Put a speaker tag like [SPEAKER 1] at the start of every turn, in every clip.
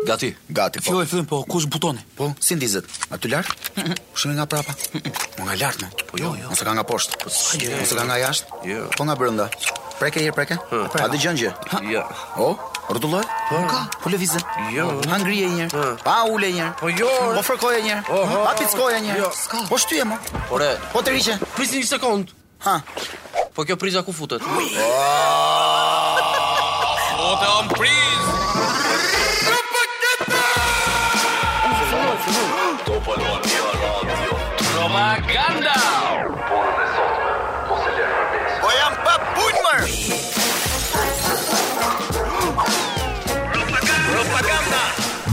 [SPEAKER 1] Gati.
[SPEAKER 2] Gati, po.
[SPEAKER 3] Filloj fillim, po kush butoni?
[SPEAKER 2] Po, si ndizet? Aty lart? Shumë nga prapa. Po nga lart, mo. Po jo, ose ka nga poshtë. Po ose ka nga jashtë.
[SPEAKER 1] Jo.
[SPEAKER 2] Po nga brenda. Preke herë preke. A dëgjon gjë?
[SPEAKER 1] Ja.
[SPEAKER 2] O, rrotulloj? Po ka, po lëvizën.
[SPEAKER 1] Jo.
[SPEAKER 2] Ha ngrije një herë.
[SPEAKER 1] Ha.
[SPEAKER 2] Pa ule një herë.
[SPEAKER 1] Po jo, re.
[SPEAKER 2] Po fërkoje një herë.
[SPEAKER 1] Oho.
[SPEAKER 2] Pa pickoje një herë.
[SPEAKER 1] Jo.
[SPEAKER 2] S'ka. Po shtyje mo.
[SPEAKER 1] Ore,
[SPEAKER 2] Po të riqe.
[SPEAKER 1] prisni një sekond.
[SPEAKER 2] Ha.
[SPEAKER 1] Po kjo priza ku futet?
[SPEAKER 4] O të am priz Propaganda
[SPEAKER 2] Po jam pa punëmër.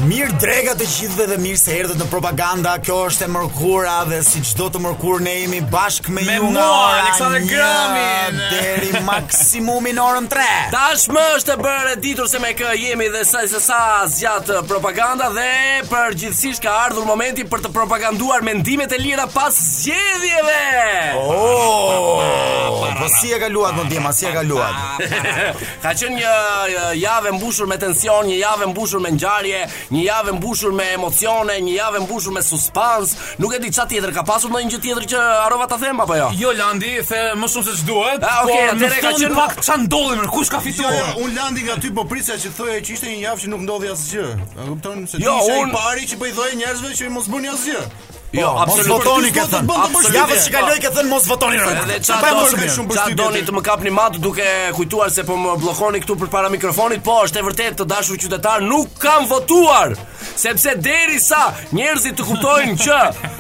[SPEAKER 5] Mirë drega të gjithëve dhe mirë se erdhët në propaganda. Kjo është e mërkura dhe si çdo të mërkur ne jemi bashkë me,
[SPEAKER 4] Me
[SPEAKER 5] ju nga
[SPEAKER 4] mua,
[SPEAKER 5] ora
[SPEAKER 4] Alexander
[SPEAKER 5] një
[SPEAKER 4] Gramin.
[SPEAKER 5] deri maksimumin orën 3.
[SPEAKER 4] Tashmë është e bërë e ditur se me kë jemi dhe sa se sa zgjatë propaganda dhe përgjithsisht ka ardhur momenti për të propaganduar mendimet e lira pas zgjedhjeve.
[SPEAKER 5] Oh, po si e kaluat më djema, si e kaluat?
[SPEAKER 4] Ka qenë një një javë e mbushur me tension, një javë e mbushur me ngjarje, një javë e mbushur me emocione, një javë e mbushur me suspans. Nuk e di çfarë tjetër ka pasur ndonjë gjë tjetër që harrova ta them apo jo?
[SPEAKER 6] Jo Landi, the më shumë se ç'duhet.
[SPEAKER 4] Ah, okay,
[SPEAKER 6] por
[SPEAKER 4] atëherë ka
[SPEAKER 6] mësoni
[SPEAKER 4] qenë-
[SPEAKER 6] pak ç'a ndodhi më, kush ka
[SPEAKER 7] Jo,
[SPEAKER 6] fituar?
[SPEAKER 7] jo, unë landi nga ty po prisja që thoje që ishte një javë që nuk ndodhi asgjë. A kupton se
[SPEAKER 4] Jo,
[SPEAKER 7] ti ishe
[SPEAKER 4] unë-
[SPEAKER 7] i pari që po i thoje njerëzve që mos bëni asgjë. Po,
[SPEAKER 4] Jo,
[SPEAKER 5] Mos
[SPEAKER 4] absolutisht.
[SPEAKER 5] votoni ke
[SPEAKER 7] s'do të
[SPEAKER 5] thënë.
[SPEAKER 7] bëndë
[SPEAKER 5] Absolutisht.
[SPEAKER 4] përshtypje.
[SPEAKER 5] Javës që kaloi ke thënë mos votoni. rrë.
[SPEAKER 4] Edhe
[SPEAKER 5] Çfarë
[SPEAKER 4] qa
[SPEAKER 5] bëjmë
[SPEAKER 4] do
[SPEAKER 5] për mirë?
[SPEAKER 7] shumë
[SPEAKER 4] qa
[SPEAKER 7] përshtypje.
[SPEAKER 4] doni të më kapni mat duke kujtuar se po më bllokoni këtu përpara mikrofonit, po është e vërtet të dashur qytetar, nuk kam votuar. Sepse derisa njerëzit të kuptojnë që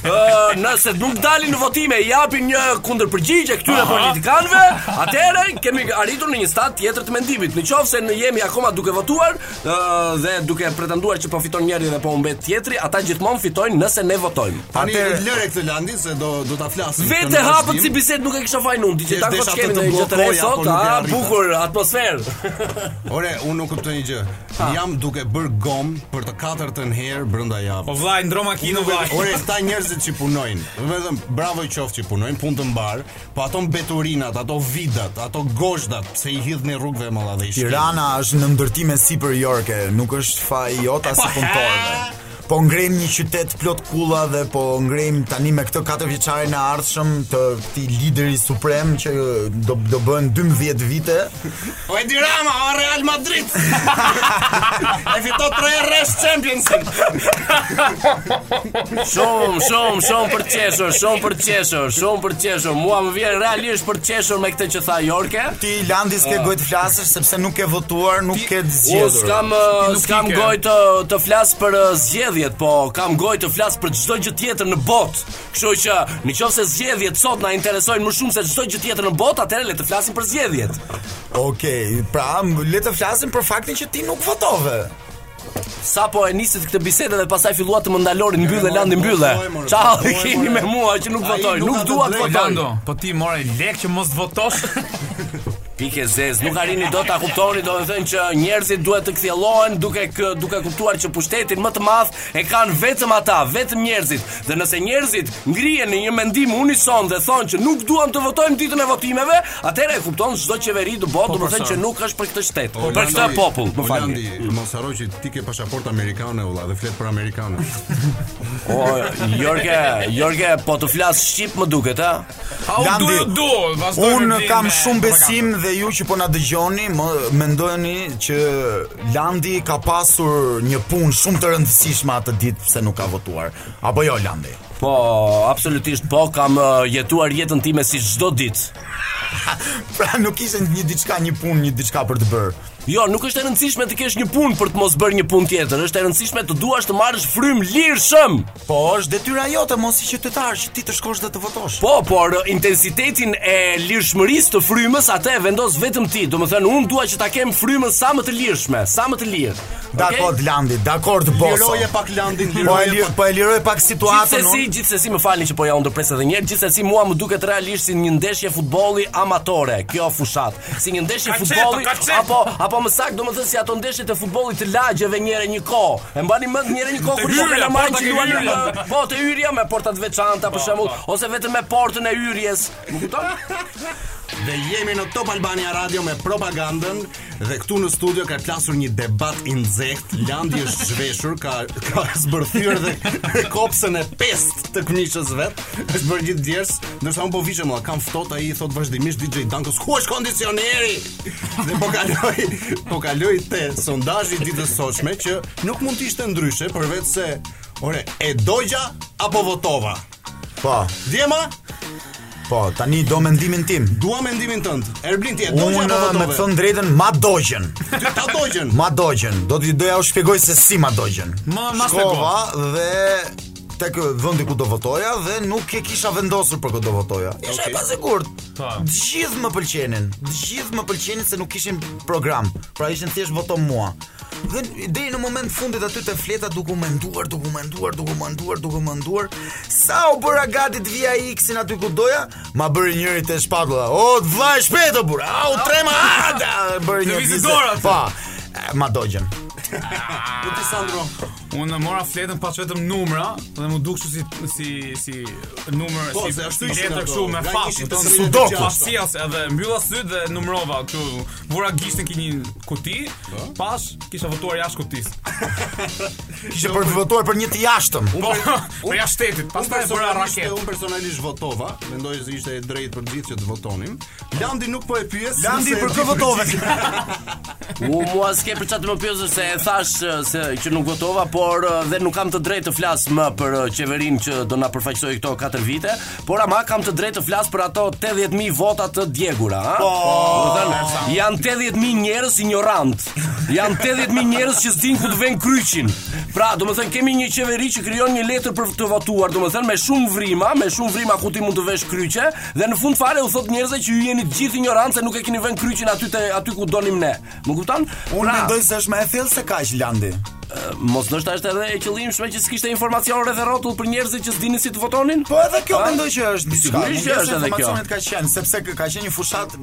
[SPEAKER 4] ë, nëse nuk dalin në votime i japin një kundërpërgjigje këtyre politikanëve, atëherë kemi arritur në një stad tjetër të mendimit. Në qoftë se ne jemi akoma duke votuar ë, dhe duke pretenduar që po fiton njëri dhe po humbet tjetri, ata gjithmonë fitojnë nëse ne votojmë.
[SPEAKER 7] Tani
[SPEAKER 5] Atëherë-
[SPEAKER 7] lëre këtë landi se do do ta flasim. këtë
[SPEAKER 4] Vete
[SPEAKER 7] në
[SPEAKER 4] hapët
[SPEAKER 7] vazhdim.
[SPEAKER 4] si bisedë nuk e kisha fajin unë Dice
[SPEAKER 7] Thjesht
[SPEAKER 4] tako
[SPEAKER 7] desha
[SPEAKER 4] që
[SPEAKER 7] të
[SPEAKER 4] kemi
[SPEAKER 7] të
[SPEAKER 4] në një gjë të re
[SPEAKER 7] bllokoja, po
[SPEAKER 4] sot
[SPEAKER 7] nuk
[SPEAKER 4] A,
[SPEAKER 7] e arrita.
[SPEAKER 4] bukur, atmosferë
[SPEAKER 7] Ore, unë nuk kuptoj një gjë. Jam duke bër gom për të katërtën herë brenda
[SPEAKER 6] Po
[SPEAKER 7] javës.
[SPEAKER 6] vllai, ndro makinën vllai.
[SPEAKER 7] Ore, këta njerëzit që punojnë, vetëm bravo i qoftë që punojnë, punë të mbar, po ato mbeturinat, ato vidat, ato gozhdat, se i hidhni rrugëve më dhe i shpinë.
[SPEAKER 5] Tirana është në ndërtime sipër Yorke, nuk është fa e jota si punëtorëve. Po ngrejmë një qytet plot kulla dhe po ngrejmë tani me këtë katër vjeçarin e ardhshëm të këtij lideri suprem që do do bën 12 vite.
[SPEAKER 7] O e di Rama, o Real Madrid E fito tre rrës Champions
[SPEAKER 4] Shumë, shumë, shumë për të qeshur Shumë për të qeshur, shumë për të qeshur Mua më vjen realisht për të qeshur me këtë që tha Jorke
[SPEAKER 5] Ti Landis ke gojë të flasësh sepse nuk ke votuar, nuk ke
[SPEAKER 4] Unë
[SPEAKER 5] zgjedhur.
[SPEAKER 4] s'kam eh,
[SPEAKER 6] Ti nuk
[SPEAKER 4] s'kam
[SPEAKER 6] i ke.
[SPEAKER 4] gojë të të flas për uh, zgjedhjet, po kam gojë të flas për çdo gjë tjetër në botë. Kështu që nëse zgjedhjet sot na interesojnë më shumë se çdo gjë tjetër në botë, atëherë le të flasim për zgjedhjet.
[SPEAKER 5] Okej, pra m- le të flasim për faktin që ti nuk votove.
[SPEAKER 4] Sa po e nisit këtë bisedë dhe pastaj fillua të më ndalorin mbyllë
[SPEAKER 7] more,
[SPEAKER 4] landi mbyllë.
[SPEAKER 7] more, more,
[SPEAKER 4] Çao
[SPEAKER 7] more,
[SPEAKER 4] keni
[SPEAKER 7] more.
[SPEAKER 4] me mua që nuk
[SPEAKER 7] Ai
[SPEAKER 4] votoj,
[SPEAKER 7] nuk
[SPEAKER 4] nuk
[SPEAKER 7] ka të
[SPEAKER 4] dua të
[SPEAKER 7] drejtë.
[SPEAKER 4] votoj.
[SPEAKER 6] Lando, po ti more lek që mos votosh.
[SPEAKER 4] Pikë zez, nuk arrini dot ta kuptoni, domethënë që njerëzit duhet të kthjellohen duke kë, duke kuptuar që pushtetin më të madh e kanë vetëm ata, vetëm njerëzit. Dhe nëse njerëzit ngrihen në një mendim unison dhe thonë që nuk duam të votojmë ditën e votimeve, atëherë e kupton çdo qeveri të botë, domethënë që nuk është për këtë shtet, për këtë popull, më falni.
[SPEAKER 7] Po, Holandi, mos haro që ti ke pasaportë amerikane valla dhe flet për amerikanë. Po,
[SPEAKER 4] O, Jorge, Jorge, po të flas shqip më duket, ha?
[SPEAKER 6] Au
[SPEAKER 5] Landi,
[SPEAKER 6] du, du, vazhdoj me
[SPEAKER 5] Unë
[SPEAKER 6] blim
[SPEAKER 5] kam
[SPEAKER 6] me
[SPEAKER 5] shumë besim
[SPEAKER 6] propagandën.
[SPEAKER 5] dhe ju që po na dëgjoni, më mendojeni që Landi ka pasur një punë shumë të rëndësishme atë ditë pse nuk ka votuar. Apo jo Landi?
[SPEAKER 4] Po, absolutisht po, kam uh, jetuar jetën time si çdo ditë.
[SPEAKER 5] Pra nuk ishte një diçka, një punë, një diçka për të bërë.
[SPEAKER 4] Jo, nuk është e rëndësishme të kesh një punë për të mos bërë një punë tjetër, është e rëndësishme të duash të marrësh frymë lirshëm.
[SPEAKER 5] Po është detyra jote mos i qytetar që ti të shkosh dhe të votosh.
[SPEAKER 4] Po, por uh, intensitetin e lirshmërisë të frymës atë e vendos vetëm ti. Domethënë, unë dua që ta kem frymën sa më të lirshme, sa më të lirë.
[SPEAKER 5] Dakord Landi, dakord boso.
[SPEAKER 7] Liroje pak Landin,
[SPEAKER 5] Po e
[SPEAKER 7] liroje
[SPEAKER 5] liroj,
[SPEAKER 7] pak.
[SPEAKER 5] po e liroj pak situatën.
[SPEAKER 4] Gjithsesi, gjithsesi
[SPEAKER 5] unë.
[SPEAKER 4] më falni që po ja ndërpres edhe një herë. Gjithsesi mua më duket realisht si një ndeshje futbolli amatore, kjo fushat. Si një ndeshje
[SPEAKER 6] Ka qeto,
[SPEAKER 4] futbolli
[SPEAKER 6] ka qeto.
[SPEAKER 4] apo apo më saktë domethënë si ato ndeshjet e futbollit të lagjeve një herë një kohë. E mbani mend një herë një kohë
[SPEAKER 6] Te
[SPEAKER 4] kur po
[SPEAKER 6] hyrja,
[SPEAKER 4] kanë marrë që
[SPEAKER 6] porta ke
[SPEAKER 4] luan
[SPEAKER 6] hyrja. Po,
[SPEAKER 4] në po të hyrja me porta të veçanta për shembull ose vetëm me portën e hyrjes. Më kupton?
[SPEAKER 7] Dhe jemi në Top Albania Radio me propagandën Dhe këtu në studio ka plasur një debat i nxehtë, Landi është zhveshur, ka ka zbërthyer dhe kopsën e pest të këmishës vet. Është bërë një djers, ndërsa un po vishem, mua, kam ftohtë ai i thot vazhdimisht DJ Dankos, ku është kondicioneri? Dhe po kaloi, po kaloi te sondazhi i ditës së sotshme që nuk mund të ishte ndryshe përveç se Ore, e dogja apo votova?
[SPEAKER 5] Po,
[SPEAKER 7] Djema,
[SPEAKER 5] po, tani do mendimin tim.
[SPEAKER 7] dua mendimin tënd. Erblin ti e dogja po
[SPEAKER 5] Unë
[SPEAKER 7] apo
[SPEAKER 5] me të
[SPEAKER 7] votove?
[SPEAKER 5] thënë drejtën ma dogjen.
[SPEAKER 7] Ty ta dogjen.
[SPEAKER 5] Ma dogjen. Do t'i doja u shpjegoj se si ma dogjen.
[SPEAKER 6] Ma- ma
[SPEAKER 5] Shkova dhe tek vendi ku do votoja dhe nuk e kisha vendosur për ku do votoja. Isha
[SPEAKER 7] Okej.
[SPEAKER 5] e pasigurt.
[SPEAKER 6] Po.
[SPEAKER 5] Të gjithë më pëlqenin. Të gjithë më pëlqenin se nuk kishin program. Pra ishin thjesht voto mua. Dhe deri në moment fundit aty te fleta duke u menduar, duke u menduar, duke u menduar, duke u menduar, sa u bëra gati të vija X-in aty ku doja, ma bëri njëri te shpatulla. O vllai shpejtë bura. Au trema. a, da, Bëri një
[SPEAKER 6] Lëvizi
[SPEAKER 5] vize.
[SPEAKER 6] dorën.
[SPEAKER 5] Pa. e, Ma dogjen.
[SPEAKER 7] Po ti Sandro,
[SPEAKER 6] Unë mora fletën pas vetëm numra dhe mu duk kështu si si si numër
[SPEAKER 7] Po,
[SPEAKER 6] si
[SPEAKER 7] se ashtu
[SPEAKER 6] si
[SPEAKER 7] ishin
[SPEAKER 6] letra
[SPEAKER 7] ato.
[SPEAKER 6] kështu me
[SPEAKER 7] Nga
[SPEAKER 6] fat,
[SPEAKER 7] 1
[SPEAKER 6] kupton?
[SPEAKER 7] te
[SPEAKER 5] Sudoku.
[SPEAKER 6] 36. Pasjes edhe mbylla syt dhe numrova kështu. Vura gishtin ki një kuti,
[SPEAKER 7] Po.
[SPEAKER 6] pas kisha votuar jashtë kutis.
[SPEAKER 5] Ishte për të votuar për një të jashtëm.
[SPEAKER 6] Po,
[SPEAKER 7] unë-
[SPEAKER 6] për jashtë shtetit,
[SPEAKER 7] unë
[SPEAKER 6] pastaj e bëra
[SPEAKER 7] personalisht-
[SPEAKER 6] raket.
[SPEAKER 7] Unë personalisht votova, mendoj se ishte e drejtë për gjithë që të votonim. Landi nuk po e pyes.
[SPEAKER 5] Landi,
[SPEAKER 7] nëse e
[SPEAKER 5] për
[SPEAKER 7] di
[SPEAKER 5] kë votove?
[SPEAKER 4] U mua s'ke për çatë më pjesë se e thash eh, se që nuk votova, por eh, dhe nuk kam të drejtë të flas më për eh, qeverinë që do na përfaqësoj këto 4 vite, por ama kam të drejtë të flas për ato 80000 vota të djegura, ha? Po, thënë, janë 80000 njerëz ignorant. Janë 80000 njerëz që s'din ku të vënë kryqin. Pra, domethënë kemi një qeveri që krijon një letër për të votuar, domethënë me shumë vrima, me shumë vrima ku ti mund të vesh kryqe dhe në fund fare u thot njerëzve që ju jeni të gjithë ignorancë, nuk e keni vënë kryqin aty te aty ku donim ne. Më kupton?
[SPEAKER 5] Unë
[SPEAKER 4] Pra,
[SPEAKER 5] mendoj se është më e thellë se kaq Landi.
[SPEAKER 4] Mos ndoshta është edhe e qëllimshme që s'kishte informacion rreth e rrotull për njerëzit që s'dinin si të votonin?
[SPEAKER 5] Po edhe kjo
[SPEAKER 4] A?
[SPEAKER 5] mendoj që është diçka.
[SPEAKER 4] Sigurisht që
[SPEAKER 5] Mendoj se
[SPEAKER 4] është edhe kjo.
[SPEAKER 5] Informacionet ka qenë sepse kë- ka qenë një fushat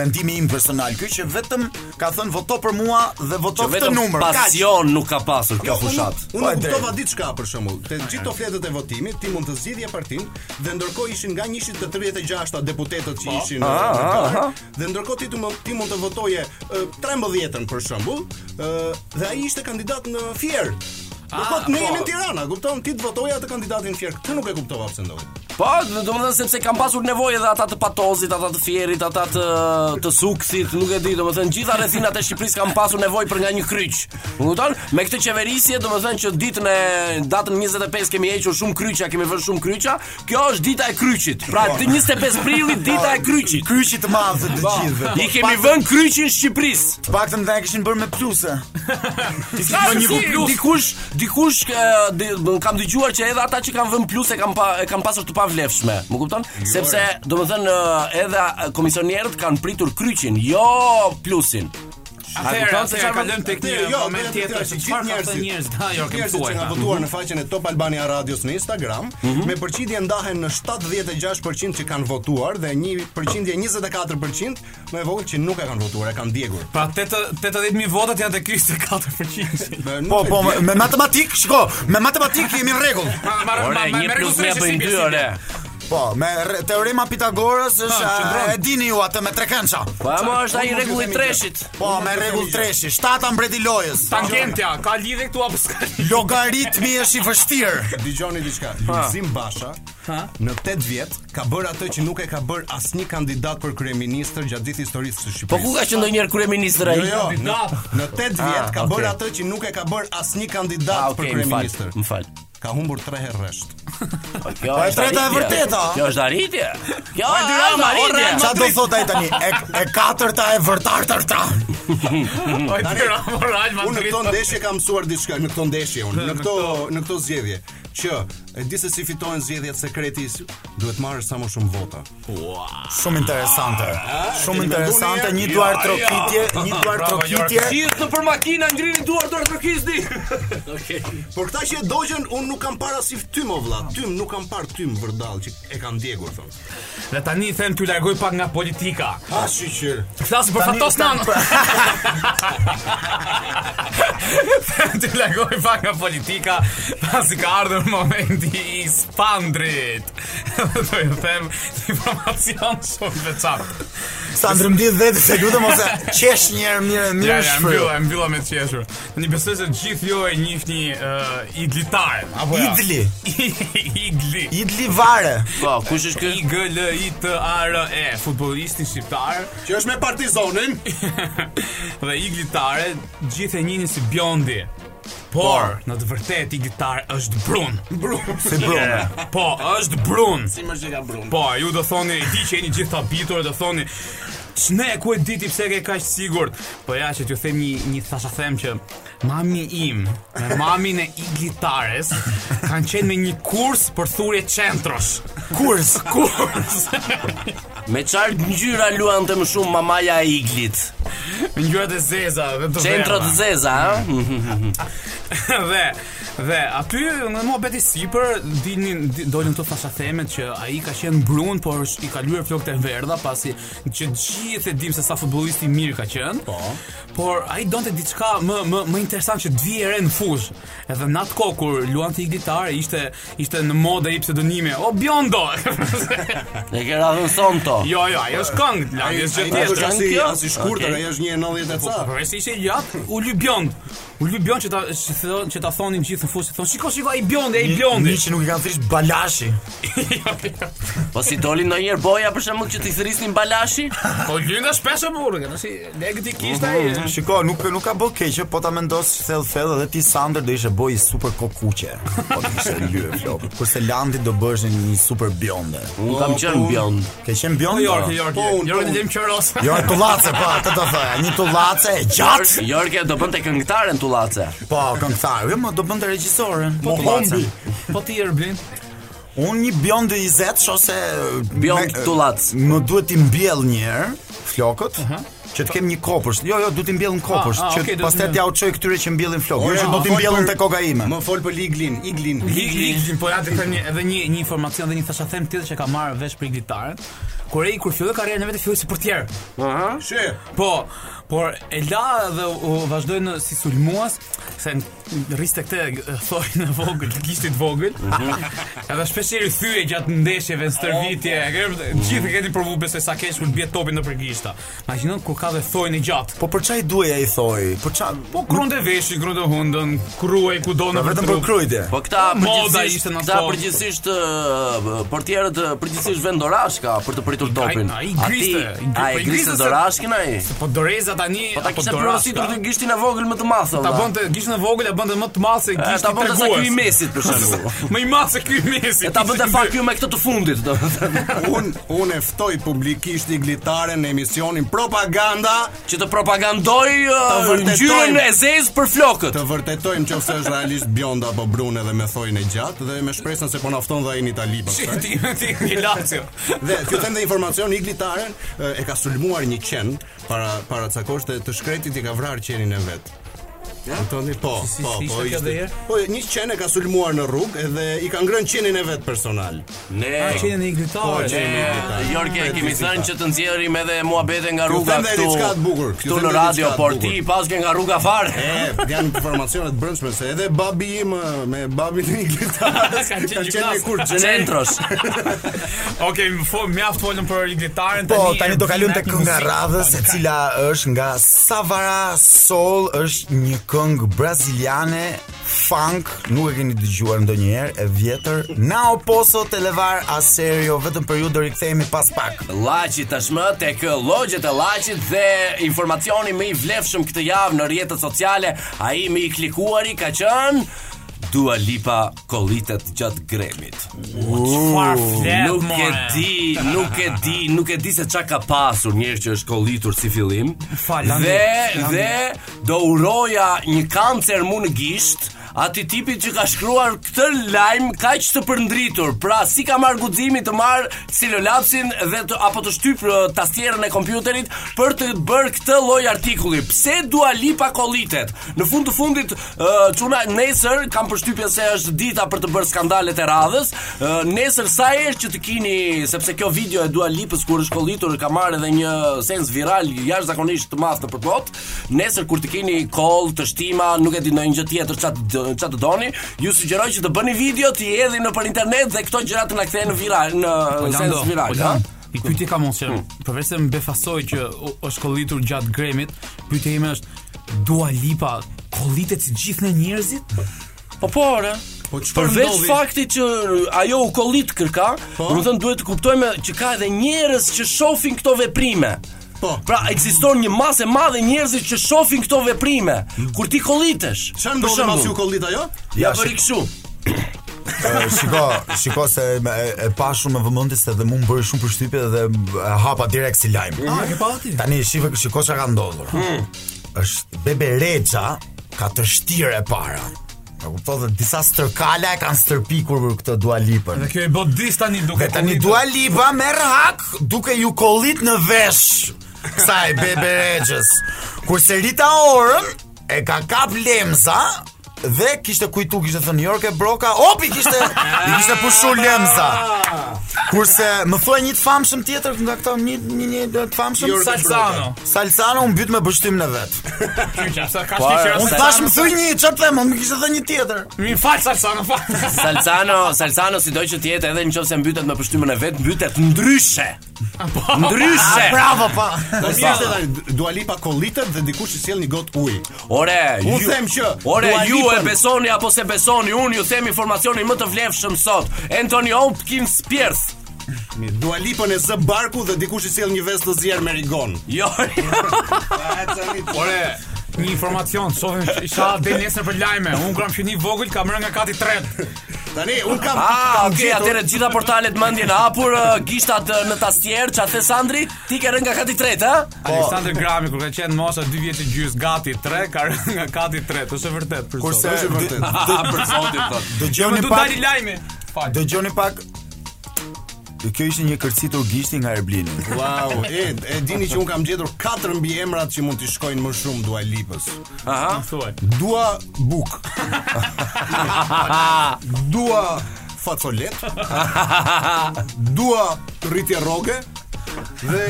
[SPEAKER 5] mendimi im personal ky që vetëm ka thënë voto për mua dhe
[SPEAKER 4] Që
[SPEAKER 5] voto këtë
[SPEAKER 4] vetëm jo-
[SPEAKER 5] numër. Kaq.
[SPEAKER 4] pasion nuk ka pasur kjo fushat.
[SPEAKER 7] Unë
[SPEAKER 5] Po, e
[SPEAKER 7] nuk
[SPEAKER 5] drejtë.
[SPEAKER 7] kuptova diçka për shembull. Te gjithë to fletët e votimit ti mund të zgjidhje partin dhe ndërkohë ishin nga 136 deputetët që ishin në kërtar, dhe ndërkohë ti tu mund ti mund të votoje eh, 13-ën për shembull, eh, dhe ai ishte kandidat në Fier. Do thot ne jemi në Tirana, kupton? Ti të votoje atë kandidatin në Fier. Këtë nuk e kuptova pse ndodhi.
[SPEAKER 4] Po, do të thënë sepse kam pasur nevojë edhe ata të patozit, ata të fierit, ata të të suksit, nuk e di, do të thënë gjitha rrethinat e Shqipërisë kam pasur nevojë për nga një kryq. Më kupton? Me këtë qeverisje, do të thënë që ditën e datën 25 kemi hequr shumë kryqa, kemi vënë shumë kryqa. Kjo është dita e kryqit. Pra 25 prillit dita e kryqit.
[SPEAKER 5] Kryqi të madh të gjithëve.
[SPEAKER 4] I kemi vënë kryqin në Shqipërisë.
[SPEAKER 5] Po. Të paktën ata e kishin bërë me pluse.
[SPEAKER 4] Ka një plus. Dikush, dikush e, di- më kam dëgjuar që edhe ata që kanë vënë plus e kanë pa, e kanë pasur të pavlefshme. Më kupton? Sepse, domethënë, e, edhe e, komisionierët kanë pritur kryqin, jo plusin.
[SPEAKER 6] Atëherë, po-
[SPEAKER 4] kupton se
[SPEAKER 6] atëherë
[SPEAKER 4] çfarë
[SPEAKER 6] kalojmë tek një
[SPEAKER 7] Jo,
[SPEAKER 6] moment
[SPEAKER 7] atëherë,
[SPEAKER 6] tjetër
[SPEAKER 7] atëherë,
[SPEAKER 6] që çfarë ka thënë njerëzit. Ha, jo, kemi
[SPEAKER 7] Njerëzit që kanë
[SPEAKER 6] thuaj.
[SPEAKER 7] votuar në faqen e Top Albania Radios në Instagram,
[SPEAKER 6] Mhm.
[SPEAKER 7] me përqindje ndahen në 76% që kanë votuar dhe një përqindje 24% me votë që nuk e kanë votuar, e kanë djegur.
[SPEAKER 6] Pra 80000 votat janë te ky 4%.
[SPEAKER 7] Dhe nuk
[SPEAKER 5] Po,
[SPEAKER 7] e
[SPEAKER 5] po, me,
[SPEAKER 7] di-
[SPEAKER 5] me matematik, shiko, me matematik jemi në rregull.
[SPEAKER 6] Ma- ma-
[SPEAKER 4] Ore,
[SPEAKER 6] ma- ma-
[SPEAKER 4] një
[SPEAKER 6] me
[SPEAKER 4] plus me
[SPEAKER 6] regjistrisht
[SPEAKER 4] bëjnë dy
[SPEAKER 6] si bie, si
[SPEAKER 4] ore.
[SPEAKER 6] bie.
[SPEAKER 5] Po, me re- teorema Pitagorës është
[SPEAKER 6] Ha,
[SPEAKER 5] a,
[SPEAKER 6] qëndron.
[SPEAKER 5] e dini ju atë me trekëndsha.
[SPEAKER 4] Po ama është ai
[SPEAKER 7] unë nuk
[SPEAKER 4] rregulli i
[SPEAKER 7] them i
[SPEAKER 4] treshit.
[SPEAKER 5] Po, me rregull treshi, shtata mbreti lojës.
[SPEAKER 6] Tangentja, ka lidhje këtu apo s'ka? lidhje?
[SPEAKER 5] Logaritmi është i vështirë.
[SPEAKER 7] Dëgjoni diçka. Lulzim Basha në 8 vjet ka bërë atë që nuk e ka bërë asnjë kandidat për kryeministër gjatë gjithë historisë së Shqipërisë.
[SPEAKER 4] Po ku ka që ndonjëherë kryeministër ai?
[SPEAKER 7] Jo, jo, në, në 8 vjet ka bërë
[SPEAKER 4] okay.
[SPEAKER 7] atë që nuk e ka bërë asnjë
[SPEAKER 4] Ah,
[SPEAKER 7] kandidat
[SPEAKER 4] okay, më fal,
[SPEAKER 7] për kryeministër.
[SPEAKER 4] më fal.
[SPEAKER 7] Ka humbur 3 herë rresht.
[SPEAKER 4] Po kjo
[SPEAKER 5] Po, e
[SPEAKER 4] është
[SPEAKER 5] treta e
[SPEAKER 4] arritje.
[SPEAKER 5] vërteta.
[SPEAKER 4] Kjo është arritje. Kjo është
[SPEAKER 5] Tirana,
[SPEAKER 4] arritje.
[SPEAKER 5] Qa do thot ai tani? E, e katërta e vërtartërta.
[SPEAKER 6] Oj, Tirana, Real
[SPEAKER 7] Unë në
[SPEAKER 6] Madrid.
[SPEAKER 7] këto ndeshje kam mësuar diçka, në këto ndeshje unë, në këto në këto zgjedhje, që e di se si fitohen zgjedhjet sekreti, s- duhet marrë sa më shumë vota.
[SPEAKER 5] Shumë interesante.
[SPEAKER 6] Ah,
[SPEAKER 5] Shumë
[SPEAKER 7] ti
[SPEAKER 5] interesante,
[SPEAKER 7] mendoni
[SPEAKER 5] një
[SPEAKER 7] herë?
[SPEAKER 5] duar trokitje, një duar
[SPEAKER 6] Bravo,
[SPEAKER 5] trokitje.
[SPEAKER 4] Gjithë në për makina ngrini duar dorë të kisni.
[SPEAKER 7] Por këta që e dogjen, unë nuk kam parë asnjë tym o vlla, tym nuk kam parë tym vërdall që e kanë djegur thon.
[SPEAKER 6] Dhe tani them t'ju largoj pak nga politika.
[SPEAKER 7] A shiqyr.
[SPEAKER 6] Flasim për Fatosnan. Them t'ju largoj pak nga politika, pasi ka ardhur momenti i spandrit. Do të them informacion shumë veçantë.
[SPEAKER 5] Sa ndërmbi 10 se lutem ose qesh një herë mirë
[SPEAKER 6] Ja,
[SPEAKER 5] mirë
[SPEAKER 6] ja, e
[SPEAKER 5] shfryr.
[SPEAKER 6] mbylla, e mbylla me të qeshur. Në një besoj se gjithë jo e njihni uh, idlitaren, apo ja?
[SPEAKER 5] Idli,
[SPEAKER 6] Idli.
[SPEAKER 5] idli vare.
[SPEAKER 4] Po, kush është ky?
[SPEAKER 6] I G L I T A R E, futbollisti shqiptar
[SPEAKER 7] Që është me Partizanin.
[SPEAKER 6] dhe iglitare gjithë e njihin si Bjondi. Por, në të vërtetë iglitar është brun. Brun.
[SPEAKER 5] Si brun.
[SPEAKER 6] Po, është brun.
[SPEAKER 7] Si më shika Brun.
[SPEAKER 6] Po, ju do thoni, i di që jeni gjithë të habitur, do thoni, Shne, ku e diti pse ke kaq sigurt? Po ja që t'ju them një një thasha them që mami im me mamin e iglitares kanë qenë me një kurs për thurje qentrosh.
[SPEAKER 5] Kurs.
[SPEAKER 6] Kurs.
[SPEAKER 4] Me çfarë ngjyra luante më shumë mamaja e iglit?
[SPEAKER 6] Me ngjyrat e zeza dhe të
[SPEAKER 4] Centro të
[SPEAKER 6] verdha.
[SPEAKER 4] zeza,
[SPEAKER 6] Mm.
[SPEAKER 4] ëh?
[SPEAKER 6] dhe dhe aty në muhabet i sipër dilnin di- dolën këto thasha themet që ai ka qenë brun por është- i ka lyer flokët e verdha pasi që gjithë e dim se sa futbollist i mirë ka qenë. Po. Por ai donte diçka më më më interesant që të vijë re në fushë. Edhe në atë kohë kur luante i gitarë ishte ishte në modë i pseudonimi O Biondo.
[SPEAKER 4] E ke radhën son to.
[SPEAKER 6] jo, jo, ajo është këngë, lagë është gjë tjetër.
[SPEAKER 7] Është
[SPEAKER 4] janë
[SPEAKER 7] as i
[SPEAKER 4] kjo?
[SPEAKER 7] as i shkurtër,
[SPEAKER 4] Okej.
[SPEAKER 7] ai është 1.90 e
[SPEAKER 6] Po,
[SPEAKER 7] ca.
[SPEAKER 6] po, vesh ishte gjat, u ly bjond. U ly bjond që ta që thon- që ta thonin gjithë në fusë, thon shiko shiko ai bjond, ai bjondi.
[SPEAKER 5] Një që nuk i kanë thrisht balashi.
[SPEAKER 4] Po si doli ndonjëherë boja për shembull që ti thrisnin balashi?
[SPEAKER 6] Po lynda shpesh e burrë, tash legët i kishte ai.
[SPEAKER 5] Shiko, nuk nuk ka bë keqe, po ta mendos thell thell edhe ti Sander do ishe boj super kokuqe. Po do ishte lyer flop. Kurse Landi do bësh një super bjonde.
[SPEAKER 4] Un kam qenë bjond.
[SPEAKER 5] Ke qenë bjonde?
[SPEAKER 6] Jork,
[SPEAKER 5] jo.
[SPEAKER 6] Jork.
[SPEAKER 7] Po, unë,
[SPEAKER 6] Jork
[SPEAKER 7] po,
[SPEAKER 6] i lëm qeros.
[SPEAKER 5] Jo, e tullace, po, atë do thoya, një tullace e gjatë.
[SPEAKER 4] Jorge do bënte këngëtaren tullace.
[SPEAKER 5] Po, këngëtar, jo, më do bënte regjisoren. Po,
[SPEAKER 7] Mohombi.
[SPEAKER 6] Po ti Erblin.
[SPEAKER 5] Unë një bjonde i zetë, shose...
[SPEAKER 4] Bjond
[SPEAKER 5] me-
[SPEAKER 4] tullac.
[SPEAKER 5] Më duhet t'i mbjell një herë flokët. Që të kem një kopësh. Jo, jo, du t'i mbjell në kopësh,
[SPEAKER 6] Ah, ah,
[SPEAKER 5] që
[SPEAKER 6] okay, do
[SPEAKER 5] pastaj
[SPEAKER 6] t'i
[SPEAKER 5] t'ja uçoj këtyre që mbjellin flokë. Jo,
[SPEAKER 7] Ora,
[SPEAKER 5] që do t'i
[SPEAKER 7] fol
[SPEAKER 5] mbjellin
[SPEAKER 7] për-
[SPEAKER 5] te koka ime.
[SPEAKER 7] Më fol për Liglin, Iglin.
[SPEAKER 6] Liglin, po ja të them një edhe një një informacion dhe një thasha them tjetër që ka marrë vesh për gitarën. Kur ai kur filloi karrierën e vet e filloi si portier.
[SPEAKER 7] Shë.
[SPEAKER 6] Po, por e la dhe u vazhdoi në si sulmuas, se në rriste këte thoi në vogël, gishtit vogël. Edhe shpesh i rthyej gjatë ndeshjeve në stërvitje. e ke- Gjithë e keni provu besoj sa keq kur bie topi në përgishta. Imagjino kur ka dhe thojnë i gjatë.
[SPEAKER 5] Po për çaj duaj ai thoi? Për çaj?
[SPEAKER 6] Po grunte veshi, grunte hundën, kruaj kudo në
[SPEAKER 5] vetëm për
[SPEAKER 6] trup.
[SPEAKER 5] krujtje.
[SPEAKER 4] Po këta
[SPEAKER 6] Moda
[SPEAKER 4] përgjithsisht,
[SPEAKER 6] ishte në
[SPEAKER 4] këta
[SPEAKER 6] kohë.
[SPEAKER 4] përgjithsisht ë, portierët ë, përgjithsisht vën dorashka për të pritur topin.
[SPEAKER 6] ai griste, i gri-
[SPEAKER 4] Ai
[SPEAKER 6] po i griste
[SPEAKER 4] griste
[SPEAKER 6] se-
[SPEAKER 4] dorashkën ai.
[SPEAKER 6] Po doreza tani
[SPEAKER 4] Po ta kishte
[SPEAKER 6] dorashka.
[SPEAKER 4] përgatitur të gishtin e vogël më të madh.
[SPEAKER 6] Ta
[SPEAKER 4] valla.
[SPEAKER 6] bënte gishtin e vogël, e bënte më të madh se
[SPEAKER 4] E,
[SPEAKER 6] gishti
[SPEAKER 4] ta bënte sa ky i
[SPEAKER 6] tregues.
[SPEAKER 4] mesit për shembull.
[SPEAKER 6] Më i madh se ky i mesit.
[SPEAKER 4] E ta bënte
[SPEAKER 6] Ishte
[SPEAKER 4] fak ju me këtë të fundit, do të thënë,
[SPEAKER 7] Un un e ftoj publikisht iglitaren në emisionin Propaganda
[SPEAKER 4] që të propagandoj
[SPEAKER 7] Ta
[SPEAKER 4] ë,
[SPEAKER 7] vërtetojmë.
[SPEAKER 4] ngjyrën e zezë për flokët.
[SPEAKER 7] të vërtetojmë nëse është realisht Bjonda apo Brun edhe me thojnë e gjatë dhe me shpresën se po na fton dhe ai në Itali
[SPEAKER 6] Ti
[SPEAKER 7] pastaj.
[SPEAKER 6] ti ti ti Lazio.
[SPEAKER 7] Dhe kjo them dhe informacion iglitaren e, e ka sulmuar një qen para para ca kohësh dhe të shkretit i ka vrarë qenin e vet. Ja? Kuptoni? Po,
[SPEAKER 6] si-
[SPEAKER 7] po,
[SPEAKER 6] si ishte
[SPEAKER 7] po,
[SPEAKER 6] kjo dhe
[SPEAKER 7] ishte.
[SPEAKER 6] herë?
[SPEAKER 7] Po, një qen e ka sulmuar në rrugë edhe i ka ngrënë qenin e vet personal.
[SPEAKER 4] Ne.
[SPEAKER 6] Qenë i
[SPEAKER 7] Po,
[SPEAKER 6] glitare.
[SPEAKER 7] qeni
[SPEAKER 4] E,
[SPEAKER 7] iglitar.
[SPEAKER 4] Jorge,
[SPEAKER 7] Pret
[SPEAKER 4] kemi
[SPEAKER 7] vizita.
[SPEAKER 4] thënë që të nxjerrim edhe muhabete nga
[SPEAKER 7] Ju
[SPEAKER 4] rruga
[SPEAKER 7] them dhe
[SPEAKER 4] këtu.
[SPEAKER 7] diçka të bukur. Ju
[SPEAKER 4] Këtu
[SPEAKER 7] them
[SPEAKER 4] në
[SPEAKER 7] dhe
[SPEAKER 4] radio,
[SPEAKER 7] diçka të
[SPEAKER 4] por
[SPEAKER 7] bukur.
[SPEAKER 4] ti i paske nga rruga fare.
[SPEAKER 7] E, janë informacionet brëndshme se edhe babi im e, me babin e iglitarës
[SPEAKER 6] Kanë qenë gjimnast.
[SPEAKER 7] kur
[SPEAKER 4] Centros.
[SPEAKER 6] Okej, më fol, mjaft folëm për iglitaren
[SPEAKER 5] Po, tani do kalojmë
[SPEAKER 6] Ervin
[SPEAKER 5] tek
[SPEAKER 6] na
[SPEAKER 5] kënga e
[SPEAKER 6] muzikë.
[SPEAKER 5] radhës, e cila është nga Savara Soul, është një këngë braziliane funk, nuk e keni dëgjuar ndonjëherë, e vjetër. Nao Poso Televar Aserio, vetëm për ju do rikthehemi pas pak.
[SPEAKER 4] Llaçi tashmë tek llogjet e llaçit dhe informacioni më i vlefshëm këtë javë në rrjetet sociale, ai më i klikuari ka qenë Dua Lipa kollitet gjatë gremit.
[SPEAKER 6] Çfarë flet,
[SPEAKER 4] nuk
[SPEAKER 6] more?
[SPEAKER 4] e di, nuk e di, nuk e di se çka ka pasur njerëz që është kollitur si fillim.
[SPEAKER 6] Fal, Landi,
[SPEAKER 4] dhe
[SPEAKER 6] Landi.
[SPEAKER 4] dhe do uroja një kancer mu në gisht. Ati tipi që ka shkruar këtë lajm kaq të përndritur, pra si ka marr guximin të marr celolapsin dhe të, apo të shtyp ë, tastierën e kompjuterit për të bërë këtë lloj artikulli. Pse Dua Lipa kollitet? Në fund të fundit ë, çuna nesër kam përshtypjen se është dita për të bërë skandalet e radhës. ë, Nesër sa herë që të kini, sepse kjo video e Dua Lipës kur është kollitur ka marrë edhe një sens viral jashtëzakonisht të madh nëpër botë. Nesër kur të keni koll, të shtima, nuk e di ndonjë gjë tjetër çat çat të doni, ju sugjeroj që të bëni video, t'i hedhni nëpër internet dhe këto gjëra të na kthejnë në viral, në
[SPEAKER 6] Lando,
[SPEAKER 4] sens viral,
[SPEAKER 6] po,
[SPEAKER 4] ha?
[SPEAKER 6] Lando. Pyetje kam unë shem. Përveç se më befasoj që u- është kollitur gjatë gremit, pyetja ime është Dua Lipa kollitet si gjithë në njerëzit?
[SPEAKER 4] Po po, ore.
[SPEAKER 7] Po çfarë
[SPEAKER 4] Përveç
[SPEAKER 7] ndodhi? Po.
[SPEAKER 4] faktit që ajo u kollit kërka, do të thënë duhet të kuptojmë që ka edhe njerëz që shohin këto veprime.
[SPEAKER 7] Po.
[SPEAKER 4] Pra ekziston një masë e madhe njerëzish që shohin këto veprime. Kur ti kollitesh.
[SPEAKER 7] Hmm. Çfarë
[SPEAKER 4] për
[SPEAKER 7] ndodhi
[SPEAKER 4] shembull,
[SPEAKER 7] masi u kollit ajo?
[SPEAKER 4] Ja bëri kështu.
[SPEAKER 5] E, shiko, shiko se me- e, e pa shumë me vëmendje se dhe mu më bëri shumë përshtypje dhe e hapa direkt si lajm.
[SPEAKER 6] A, Ah, ke pati?
[SPEAKER 5] Tani shifë shiko çka ka ndodhur. Është Bebe Rexha ka të shtirë e para. E kupton dhe disa stërkala e kanë stërpikur këtë Dua Lipën.
[SPEAKER 6] Dhe kjo e bë dis tani duke
[SPEAKER 5] Dhe tani Dua Lipa merr hak duke ju kollit në vesh kësaj Bebe Rexhës. Kurse Rita Orën e ka kap Lemza dhe kishte kujtu kishte thënë New York e Broka, opi kishte i kishte pushu Lemza. Kurse më thuaj një të famshëm tjetër nga këto një një një të famshëm
[SPEAKER 7] York e
[SPEAKER 6] Salsano.
[SPEAKER 5] Salsano u mbyt me bështim në vet.
[SPEAKER 6] Kyqa, sa ka
[SPEAKER 4] Po,
[SPEAKER 6] shkëqyra.
[SPEAKER 5] Unë thash më thuj një, çfarë them, më kishte thënë një tjetër.
[SPEAKER 6] Mi fal Salsano, fal.
[SPEAKER 4] Salsano, Salsano sido që të jetë edhe nëse mbytet me pështymën e vet, mbytet ndryshe. Ndryshe.
[SPEAKER 5] Ah, Bravo pa.
[SPEAKER 7] Po mirë se tani Dua Lipa kollitet dhe dikush i sjell një got ujë.
[SPEAKER 4] Ore,
[SPEAKER 7] Unë
[SPEAKER 4] ju-
[SPEAKER 7] them që
[SPEAKER 4] Ore,
[SPEAKER 7] Dua
[SPEAKER 4] ju e
[SPEAKER 7] Lipën-
[SPEAKER 4] besoni apo se besoni, unë ju them informacionin më të vlefshëm sot. Anthony Hopkins Pierce.
[SPEAKER 7] Mirë, Dua Lipën e zë barku dhe dikush i sjell një vest të zjerr me rigon.
[SPEAKER 4] Jo.
[SPEAKER 6] Ore, një informacion, shohim isha del nesër për lajme. Unë gram që një vogël kam rënë nga kati 3.
[SPEAKER 5] Po.
[SPEAKER 7] Tani un kam
[SPEAKER 4] Ah,
[SPEAKER 7] kam
[SPEAKER 4] okay,
[SPEAKER 7] gjetur-
[SPEAKER 4] atëre të gjitha portalet më ndjen hapur, ë, gishtat ë, në tastier, çfarë the Sandri? Ti ke rënë nga kati tretë, ha?
[SPEAKER 6] Aleksandr Grami kur ka qenë mosha 2 vjeç e gjys gati 3 ka rënë nga kati 3. Është e vërtet për sot.
[SPEAKER 5] Kurse
[SPEAKER 7] Është vërtet.
[SPEAKER 6] Ah,
[SPEAKER 4] për zotin thot.
[SPEAKER 6] Më
[SPEAKER 5] dëgjoni
[SPEAKER 6] du
[SPEAKER 5] pak
[SPEAKER 6] dali lajmi. Fal.
[SPEAKER 5] Dëgjoni pak Kjo ishte një kërcitur gishti nga Erblini.
[SPEAKER 7] Wow, e, e dini që un kam gjetur 4 mbi emrat që mund t'i shkojnë më shumë Dua Lipës.
[SPEAKER 4] Aha.
[SPEAKER 6] Thuaj.
[SPEAKER 7] Dua Buk. Dua Facolet. Dua Rritje Roge dhe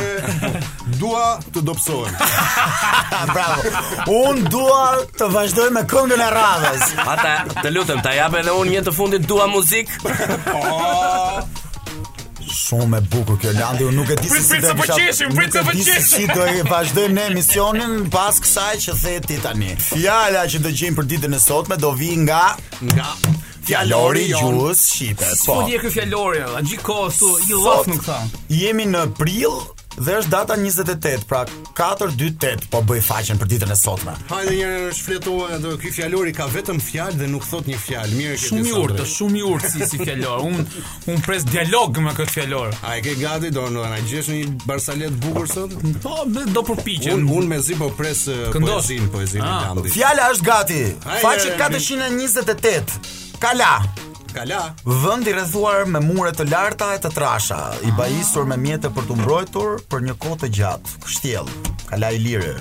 [SPEAKER 7] dua të dopsohem.
[SPEAKER 5] Bravo. Un dua të vazhdoj me këngën e radhës.
[SPEAKER 4] Ata, të lutem, ta jap edhe unë një të fundit dua muzik.
[SPEAKER 5] Shumë e bukur kjo Landi, unë nuk e di se
[SPEAKER 6] Prit,
[SPEAKER 5] si
[SPEAKER 6] prit,
[SPEAKER 5] do
[SPEAKER 6] se po
[SPEAKER 5] kisha-
[SPEAKER 6] qeshim,
[SPEAKER 5] nuk
[SPEAKER 6] prit, se
[SPEAKER 5] e
[SPEAKER 6] po
[SPEAKER 5] di se
[SPEAKER 6] qeshim.
[SPEAKER 5] Si do e vazhdojmë ne misionin pas kësaj që the ti tani. Fjala që dëgjojmë për ditën e sotme do vi nga
[SPEAKER 7] Nga
[SPEAKER 5] Fjalori i gjuhës shqipe. Po.
[SPEAKER 6] Po dje ky fjalori, a gjithë kohë su i
[SPEAKER 5] Sot
[SPEAKER 6] llaf nuk tha.
[SPEAKER 5] Jemi në prill dhe është data 28, pra 428 po bëj faqen për ditën e sotme.
[SPEAKER 7] Hajde një herë shfletohet edhe ky fjalori ka vetëm fjalë dhe nuk thot një fjalë. Mirë që
[SPEAKER 6] Shumë i urtë, shumë i urtë si si fjalor. Un un pres dialog me këtë fjalor.
[SPEAKER 7] A e ke gati do do na gjesh një barsalet bukur sot?
[SPEAKER 6] Po, me- do përpiqem.
[SPEAKER 7] Un un me zi po pres eh,
[SPEAKER 6] Këndosh.
[SPEAKER 7] poezin, poezin e
[SPEAKER 6] Ah.
[SPEAKER 7] Landit.
[SPEAKER 5] Fjala është gati.
[SPEAKER 7] Hajde,
[SPEAKER 5] Faqe
[SPEAKER 7] Erblin.
[SPEAKER 5] 428. Kala.
[SPEAKER 7] Kala.
[SPEAKER 5] Vënd i rrethuar me mure të larta e të trasha, i bajisur me mjete për të mbrojtur për një kohë të gjatë. Kështjell, kala i lirë.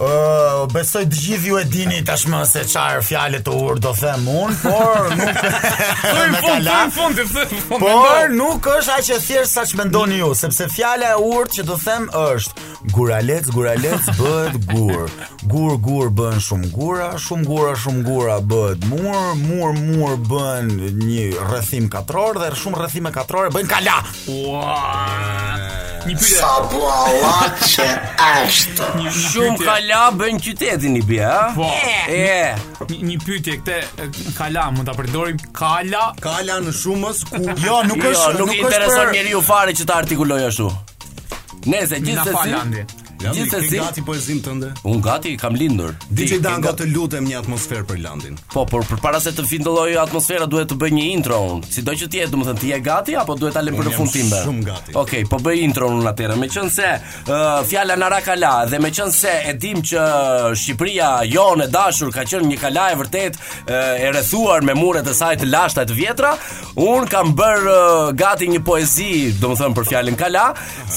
[SPEAKER 5] Ë, besoj të gjithë ju e dini tashmë se çfarë fjalë të urtë do them unë, por nuk
[SPEAKER 6] Thuaj në
[SPEAKER 5] me
[SPEAKER 6] fund,
[SPEAKER 5] kala.
[SPEAKER 6] thuaj në fund, thuaj në fund.
[SPEAKER 5] Por
[SPEAKER 6] mendo.
[SPEAKER 5] nuk është aq e thjeshtë sa që mendoni ju, sepse fjala e urtë që do them është guralec, guralec bëhet gur. Gur gur bën shumë gura, shumë gura shumë gura bëhet mur, mur mur bën një rrëthim katror dhe shumë rrëthime katrore bën kala.
[SPEAKER 6] Ah, Një pyetje.
[SPEAKER 4] Shumë kala bën qytetin i bie, ha?
[SPEAKER 6] Po.
[SPEAKER 4] E.
[SPEAKER 6] Një, një pyetje këtë e, kala mund ta përdorim kala
[SPEAKER 7] Kala në shumës ku
[SPEAKER 5] Jo, nuk
[SPEAKER 4] Jo,
[SPEAKER 5] është,
[SPEAKER 4] nuk,
[SPEAKER 5] nuk,
[SPEAKER 4] i
[SPEAKER 5] është
[SPEAKER 4] intereson
[SPEAKER 5] për
[SPEAKER 4] njeriu fare që ta artikuloj ashtu. Nese,
[SPEAKER 6] na fal Andi.
[SPEAKER 4] gjithsesi,
[SPEAKER 7] Landi, ke
[SPEAKER 4] gjithsesi,
[SPEAKER 7] gati poezin tënde?
[SPEAKER 4] un gati kam lindur. Ti,
[SPEAKER 7] DJ
[SPEAKER 4] ke
[SPEAKER 7] Dango,
[SPEAKER 4] gati?
[SPEAKER 7] të lutem një atmosferë për Landin.
[SPEAKER 4] Po, por përpara se të filloj atmosfera duhet të bëj një intro un. Sido që ti je, domethënë ti je gati apo duhet ta lëm për
[SPEAKER 7] Unë
[SPEAKER 4] në
[SPEAKER 7] jam
[SPEAKER 4] fund timbe?
[SPEAKER 7] shumë gati.
[SPEAKER 4] Okej, po bëj intro un atëherë. Meqense uh, fjala nara kala dhe meqense e dim që Shqipëria jonë e dashur ka qenë një kala e vërtet uh, e rrethuar me muret e saj të lashta e të vjetra, un kam bër uh, gati një poezi, domethënë për fjalën kala,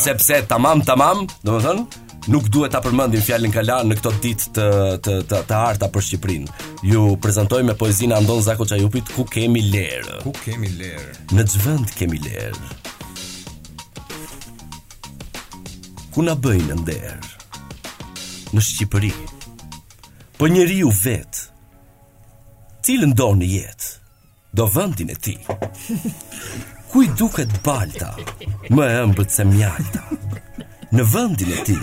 [SPEAKER 4] sepse tamam tamam, domethënë Nuk duhet ta përmendim fjalën kala në këto ditë të të të, të harta për Shqipërinë. Ju prezantoj me poezinë Andon Zako Çajupit ku kemi lerë.
[SPEAKER 7] Ku kemi lerë?
[SPEAKER 4] Në çvend kemi lerë. Ku na bëjnë nder? Në Shqipëri. Po njeriu vet. Cilën do në jetë? Do vendin e ti. Kuj duket balta Më e ëmbët se mjalta Në vëndin e ti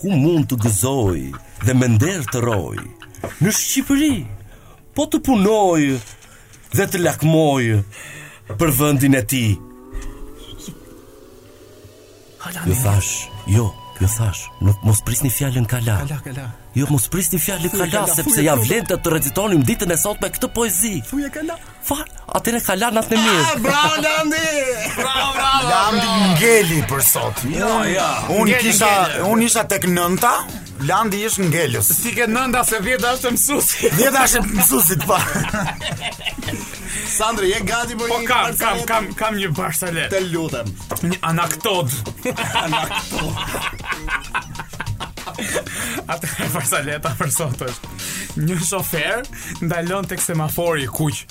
[SPEAKER 4] Ku mund të gëzoj Dhe me nder të roj Në Shqipëri Po të punoj Dhe të lakmoj Për vëndin e ti Jo thash Jo, jo thash Nuk mos prisni fjallën kala
[SPEAKER 6] Kala, kala.
[SPEAKER 4] Jo, mos prisni fjallën kala
[SPEAKER 6] kala,
[SPEAKER 4] Sepse
[SPEAKER 6] thuj,
[SPEAKER 4] ja
[SPEAKER 6] thuj.
[SPEAKER 4] vlen të të recitonim ditën e sot me këtë poezi
[SPEAKER 6] Thuaj kala. Ah,
[SPEAKER 4] Far, atëre kala natë në mirë
[SPEAKER 7] Bravo, Landi!
[SPEAKER 6] Bravo, bravo.
[SPEAKER 5] Landi ngeli për sot. Jo,
[SPEAKER 6] ja.
[SPEAKER 5] Unë
[SPEAKER 6] Ngeli,
[SPEAKER 5] kisha,
[SPEAKER 6] ngeli.
[SPEAKER 5] unë isha tek nënta, Landi ish ngelës.
[SPEAKER 6] Si ke nënda se vjeta është mësuesi.
[SPEAKER 5] Vjeta është e mësuesit pa.
[SPEAKER 7] Sandri, je gati për
[SPEAKER 6] Po
[SPEAKER 7] një
[SPEAKER 6] kam,
[SPEAKER 7] parcele?
[SPEAKER 6] kam, kam, kam një barsalet.
[SPEAKER 7] Të lutem.
[SPEAKER 6] Një anaktod. Atë e farsaleta për sot është. Një shofer ndalon tek semafori i kuq.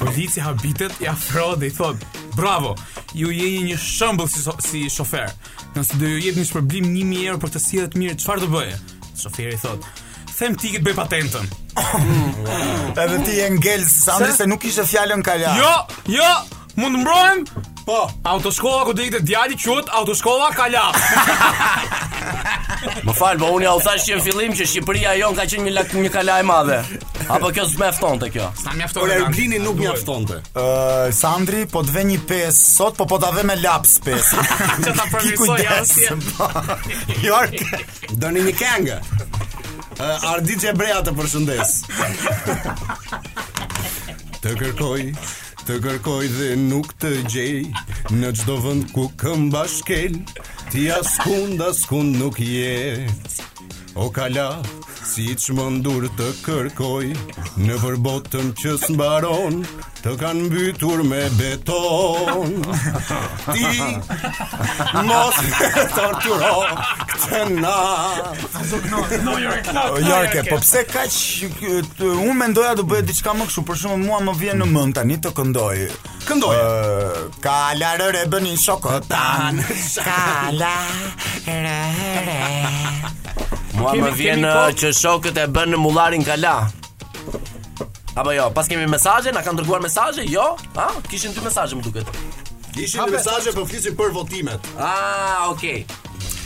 [SPEAKER 6] Polici habitet i afrohet dhe i thot: "Bravo, ju jeni një shembull si, so- si shofer. Nëse do ju jepni shpërblim 1000 euro për të sillet mirë, çfarë do bëje?" Shoferi i thot: "Them tiket bëj patentën."
[SPEAKER 5] Edhe ti je ngelës, Sandri
[SPEAKER 6] Se?
[SPEAKER 5] se nuk kishe fjalën kala.
[SPEAKER 6] Jo, jo, mund të mbrohem?
[SPEAKER 7] Po,
[SPEAKER 6] Autoshkolla ku do ikte djali quhet Autoshkolla Kala.
[SPEAKER 4] Më falë, po unë ja u thash që në fillim që Shqipëria jon ka qenë një, lak, një kala e madhe Apo kjo s'me efton të kjo
[SPEAKER 6] Sa mjafton.
[SPEAKER 7] por
[SPEAKER 6] Ergan.
[SPEAKER 7] Erblini nuk
[SPEAKER 6] Duhet.
[SPEAKER 7] mjaftonte.
[SPEAKER 5] Ë, Sandri, po të ve një pesë sot, po po ta ve me laps pesë.
[SPEAKER 6] Që ta përmirësoj jashtje.
[SPEAKER 5] York.
[SPEAKER 7] Doni një këngë. Ë, Ardi Xhebrea të përshëndes. të kërkoj, të kërkoj dhe nuk të gjej Në çdo vënd ku këmba shkel Ti askund, askund nuk je O kala, si i çmendur të kërkoj Në përbotën që s'mbaron Të kanë mbytur me beton Ti mos e torturo këtë natë
[SPEAKER 5] York, po pse kaq ë, t- unë mendoja do bëhet diçka më kështu, për shembull mua më vjen në mend tani të këndoj.
[SPEAKER 7] Këndoj.
[SPEAKER 5] Ë, Kalarëre bëni shokotan. Kalarëre.
[SPEAKER 4] Mua
[SPEAKER 6] Kemi-
[SPEAKER 4] më vjen
[SPEAKER 6] kemi
[SPEAKER 4] uh,
[SPEAKER 6] kohë.
[SPEAKER 4] që shokët e bën në mullarin kala Apo jo, pas kemi mesazhe, na kanë dërguar mesazhe? Jo? Ha? Kishin dy mesazhe më duket.
[SPEAKER 7] Ishin Hape. mesazhe po flisim për votimet.
[SPEAKER 4] Ah, okay.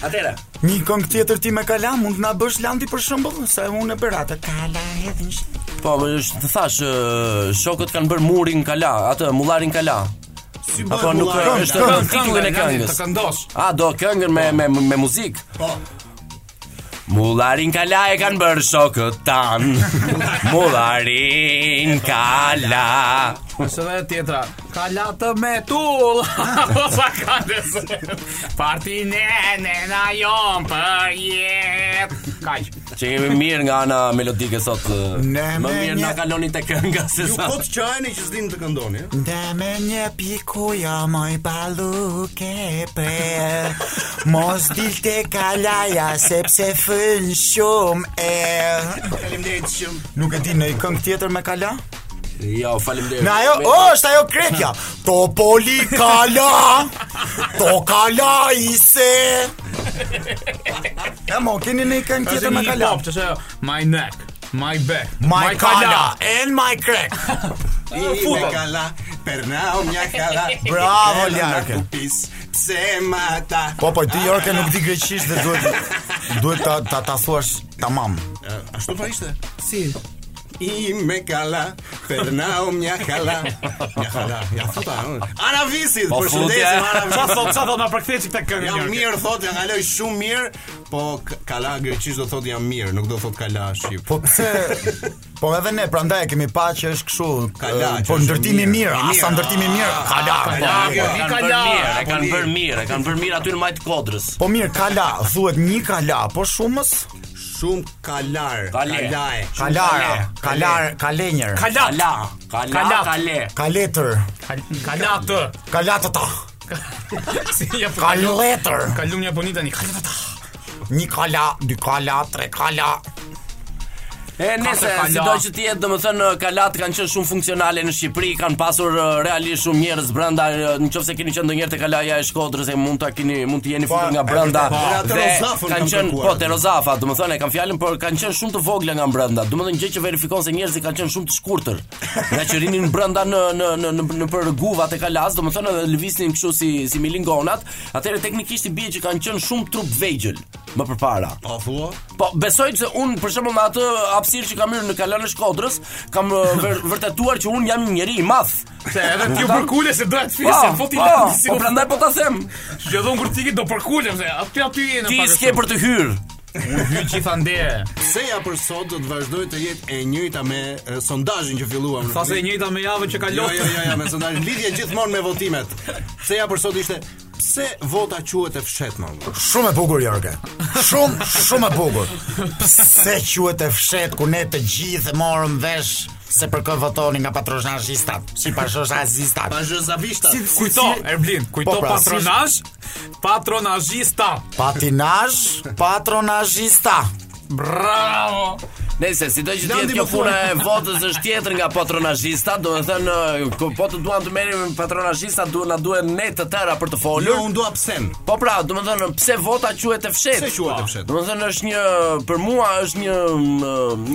[SPEAKER 4] Atëra.
[SPEAKER 5] Një këngë tjetër ti me kala mund na bësh Landi për shembull, se unë e berata. Kala hedhin. sh-
[SPEAKER 4] Po, më është të thash, ë, shokët kanë bërë murin kala, atë mullarin kala.
[SPEAKER 7] Si
[SPEAKER 4] Apo nuk
[SPEAKER 7] mullari?
[SPEAKER 4] është
[SPEAKER 6] Këngë,
[SPEAKER 4] në titullin e
[SPEAKER 6] këngë,
[SPEAKER 4] këngës.
[SPEAKER 6] Të këndosh.
[SPEAKER 4] A, do këngën me, me, me muzikë?
[SPEAKER 7] Po.
[SPEAKER 4] Mullarin kala e kanë bërë shokët tanë Mullarin kala
[SPEAKER 6] Është edhe tjetra. Ka latë me tull. Po sa ka desë. Parti ne ne na jon për jet. Kaq.
[SPEAKER 4] Që jemi mirë nga ana melodike sot ë,
[SPEAKER 5] Ne
[SPEAKER 4] Më
[SPEAKER 5] me
[SPEAKER 4] mirë
[SPEAKER 5] një-
[SPEAKER 4] na kaloni të kënga se
[SPEAKER 7] Ju
[SPEAKER 4] sa
[SPEAKER 7] kot çajin Po që s'din të këndoni. eh? ë?
[SPEAKER 5] Dhe me një pikuja moj balu ke pre Mos dil të kalaja sepse fën shumë er. e
[SPEAKER 7] Faleminderit shumë.
[SPEAKER 5] Nuk e di në i këngë tjetër me kala?
[SPEAKER 4] Jo, faleminderit.
[SPEAKER 5] Në ajo, o, është ajo krekja Topoli kala To kala i se E mo, keni në i këngë
[SPEAKER 6] Është
[SPEAKER 5] tjetër me
[SPEAKER 6] një
[SPEAKER 5] kala?
[SPEAKER 6] pop, ç'është ajo? my neck, my back,
[SPEAKER 5] My kala and my krek
[SPEAKER 7] I me kala, pernau mja kala.
[SPEAKER 5] Bravo,
[SPEAKER 7] Kala na
[SPEAKER 5] Ljarke.
[SPEAKER 7] kupis, Pse mata?
[SPEAKER 5] Po, po, ti Jorke nuk di greqisht dhe duhet Duhet ta, ta, ta thuash tamam
[SPEAKER 7] Ashtu po ishte.
[SPEAKER 6] Si?
[SPEAKER 7] I me kala, pernau mja kala. Mja kala, ja futa. ë. Ana Visit, përshëndesim
[SPEAKER 4] futje.
[SPEAKER 7] Ana
[SPEAKER 6] Çfarë
[SPEAKER 7] Visit.
[SPEAKER 6] thot, çfarë thot na përkthej çik tek këngë.
[SPEAKER 7] Jam mirë thot, jam kaloj shumë mirë, po k- kala greqisht do thot jam mirë, nuk do thot kala shqip.
[SPEAKER 5] Po pse? po edhe ne prandaj e kemi pa që është kështu.
[SPEAKER 7] Kala,
[SPEAKER 5] eh,
[SPEAKER 7] që
[SPEAKER 5] po
[SPEAKER 7] është
[SPEAKER 5] ndërtimi i mirë,
[SPEAKER 7] mirë, mirë, Ah,
[SPEAKER 5] asa ndërtimi i mirë. Kala.
[SPEAKER 4] Po,
[SPEAKER 5] po.
[SPEAKER 4] po, e kanë bërë
[SPEAKER 6] Kala,
[SPEAKER 4] mirë, e kanë
[SPEAKER 7] Apoli.
[SPEAKER 4] bërë mirë, e kanë bërë mirë aty në majtë kodrës.
[SPEAKER 5] Po mirë, kala, thuhet një kala, po shumës?
[SPEAKER 7] Shumë kalar,
[SPEAKER 4] Kale.
[SPEAKER 7] kalae.
[SPEAKER 5] Kalara, kalar, kalenjër,
[SPEAKER 6] Kala.
[SPEAKER 4] Kala, kala,
[SPEAKER 6] Kalat.
[SPEAKER 4] kale.
[SPEAKER 5] kaletër,
[SPEAKER 6] Kala të.
[SPEAKER 5] kalatëta,
[SPEAKER 6] Si ja po.
[SPEAKER 5] kaletër,
[SPEAKER 6] Kalum një bonita një. Kala të.
[SPEAKER 5] një kala, dy kala, tre kala.
[SPEAKER 4] E nëse
[SPEAKER 6] Kafe
[SPEAKER 4] si
[SPEAKER 6] kala.
[SPEAKER 4] do që të jetë, domethënë kalat kanë qenë shumë funksionale në Shqipëri, kanë pasur uh, realisht shumë njerëz brenda, uh, nëse keni qenë ndonjëherë te kalaja e Shkodrës e mund ta keni mund të jeni futur nga
[SPEAKER 7] e
[SPEAKER 4] brenda.
[SPEAKER 7] vërtet, po.
[SPEAKER 4] dhe
[SPEAKER 7] Atë rozafën
[SPEAKER 4] Kanë
[SPEAKER 7] kanë
[SPEAKER 4] qenë
[SPEAKER 7] kërkuar.
[SPEAKER 4] po te rozafa, domethënë e kanë fjalën, por kanë qenë shumë të vogla nga brenda. Domethënë gjë që verifikon se njerëzit kanë qenë shumë të shkurtër. Nga që rinin brenda në në në në, në për guvat e kalas, domethënë edhe lëvisnin kështu si si milingonat, atëherë teknikisht i bie që kanë qenë shumë trup vegjël më përpara.
[SPEAKER 7] Po thua?
[SPEAKER 4] Po, besoj që un për shembull me atë hapësirë që kam hyrë në Kalan e Shkodrës, kam uh, vër, vërtetuar që un jam një njerëz i madh.
[SPEAKER 6] Se edhe ti u përkule se do të
[SPEAKER 4] Po,
[SPEAKER 6] fisë, po ti
[SPEAKER 4] po,
[SPEAKER 6] si
[SPEAKER 4] po prandaj po ta them.
[SPEAKER 6] Që dhon kur ti do përkulem se aty aty jeni
[SPEAKER 4] Ti s'ke për të hyrë.
[SPEAKER 6] hy gjithë ande.
[SPEAKER 7] Seja për sot do të vazhdoj të jetë e njëjta me e, sondazhin që filluam. në
[SPEAKER 6] Sa se e njëjta me javën që
[SPEAKER 7] Jo,
[SPEAKER 6] kalon.
[SPEAKER 7] jo, jo, jo, me sondazhin lidhje gjithmonë me votimet. Seja për sot ishte pse vota quhet e Jo, fshetë më?
[SPEAKER 5] Shumë e bukur Jorge. Shumë shumë e bukur. Pse quhet e fshet kur ne të gjithë morëm vesh se për kë votoni nga patronazhistat, si pashozazhistat.
[SPEAKER 7] Pazhëzavishta.
[SPEAKER 5] Si- si-
[SPEAKER 6] Kujto,
[SPEAKER 5] si-
[SPEAKER 6] Erblin, kujto
[SPEAKER 5] Po, pra, si-
[SPEAKER 6] patronazh, patronazhista.
[SPEAKER 5] Patinazh, patronazhista.
[SPEAKER 6] Bravo.
[SPEAKER 4] Nëse si do që të
[SPEAKER 7] Landi
[SPEAKER 4] jetë kjo
[SPEAKER 7] më thua.
[SPEAKER 4] puna e votës është tjetër nga patronazhista, do të thënë uh, ku- po të duam të merrem me patronazhista, duhet na duhen ne të tëra për të folur.
[SPEAKER 7] Jo, unë dua psen.
[SPEAKER 4] Po pra, do të thënë pse vota quhet e fshetë?
[SPEAKER 7] Pse quhet e fshetë?
[SPEAKER 4] Do të thënë është një për mua është një më,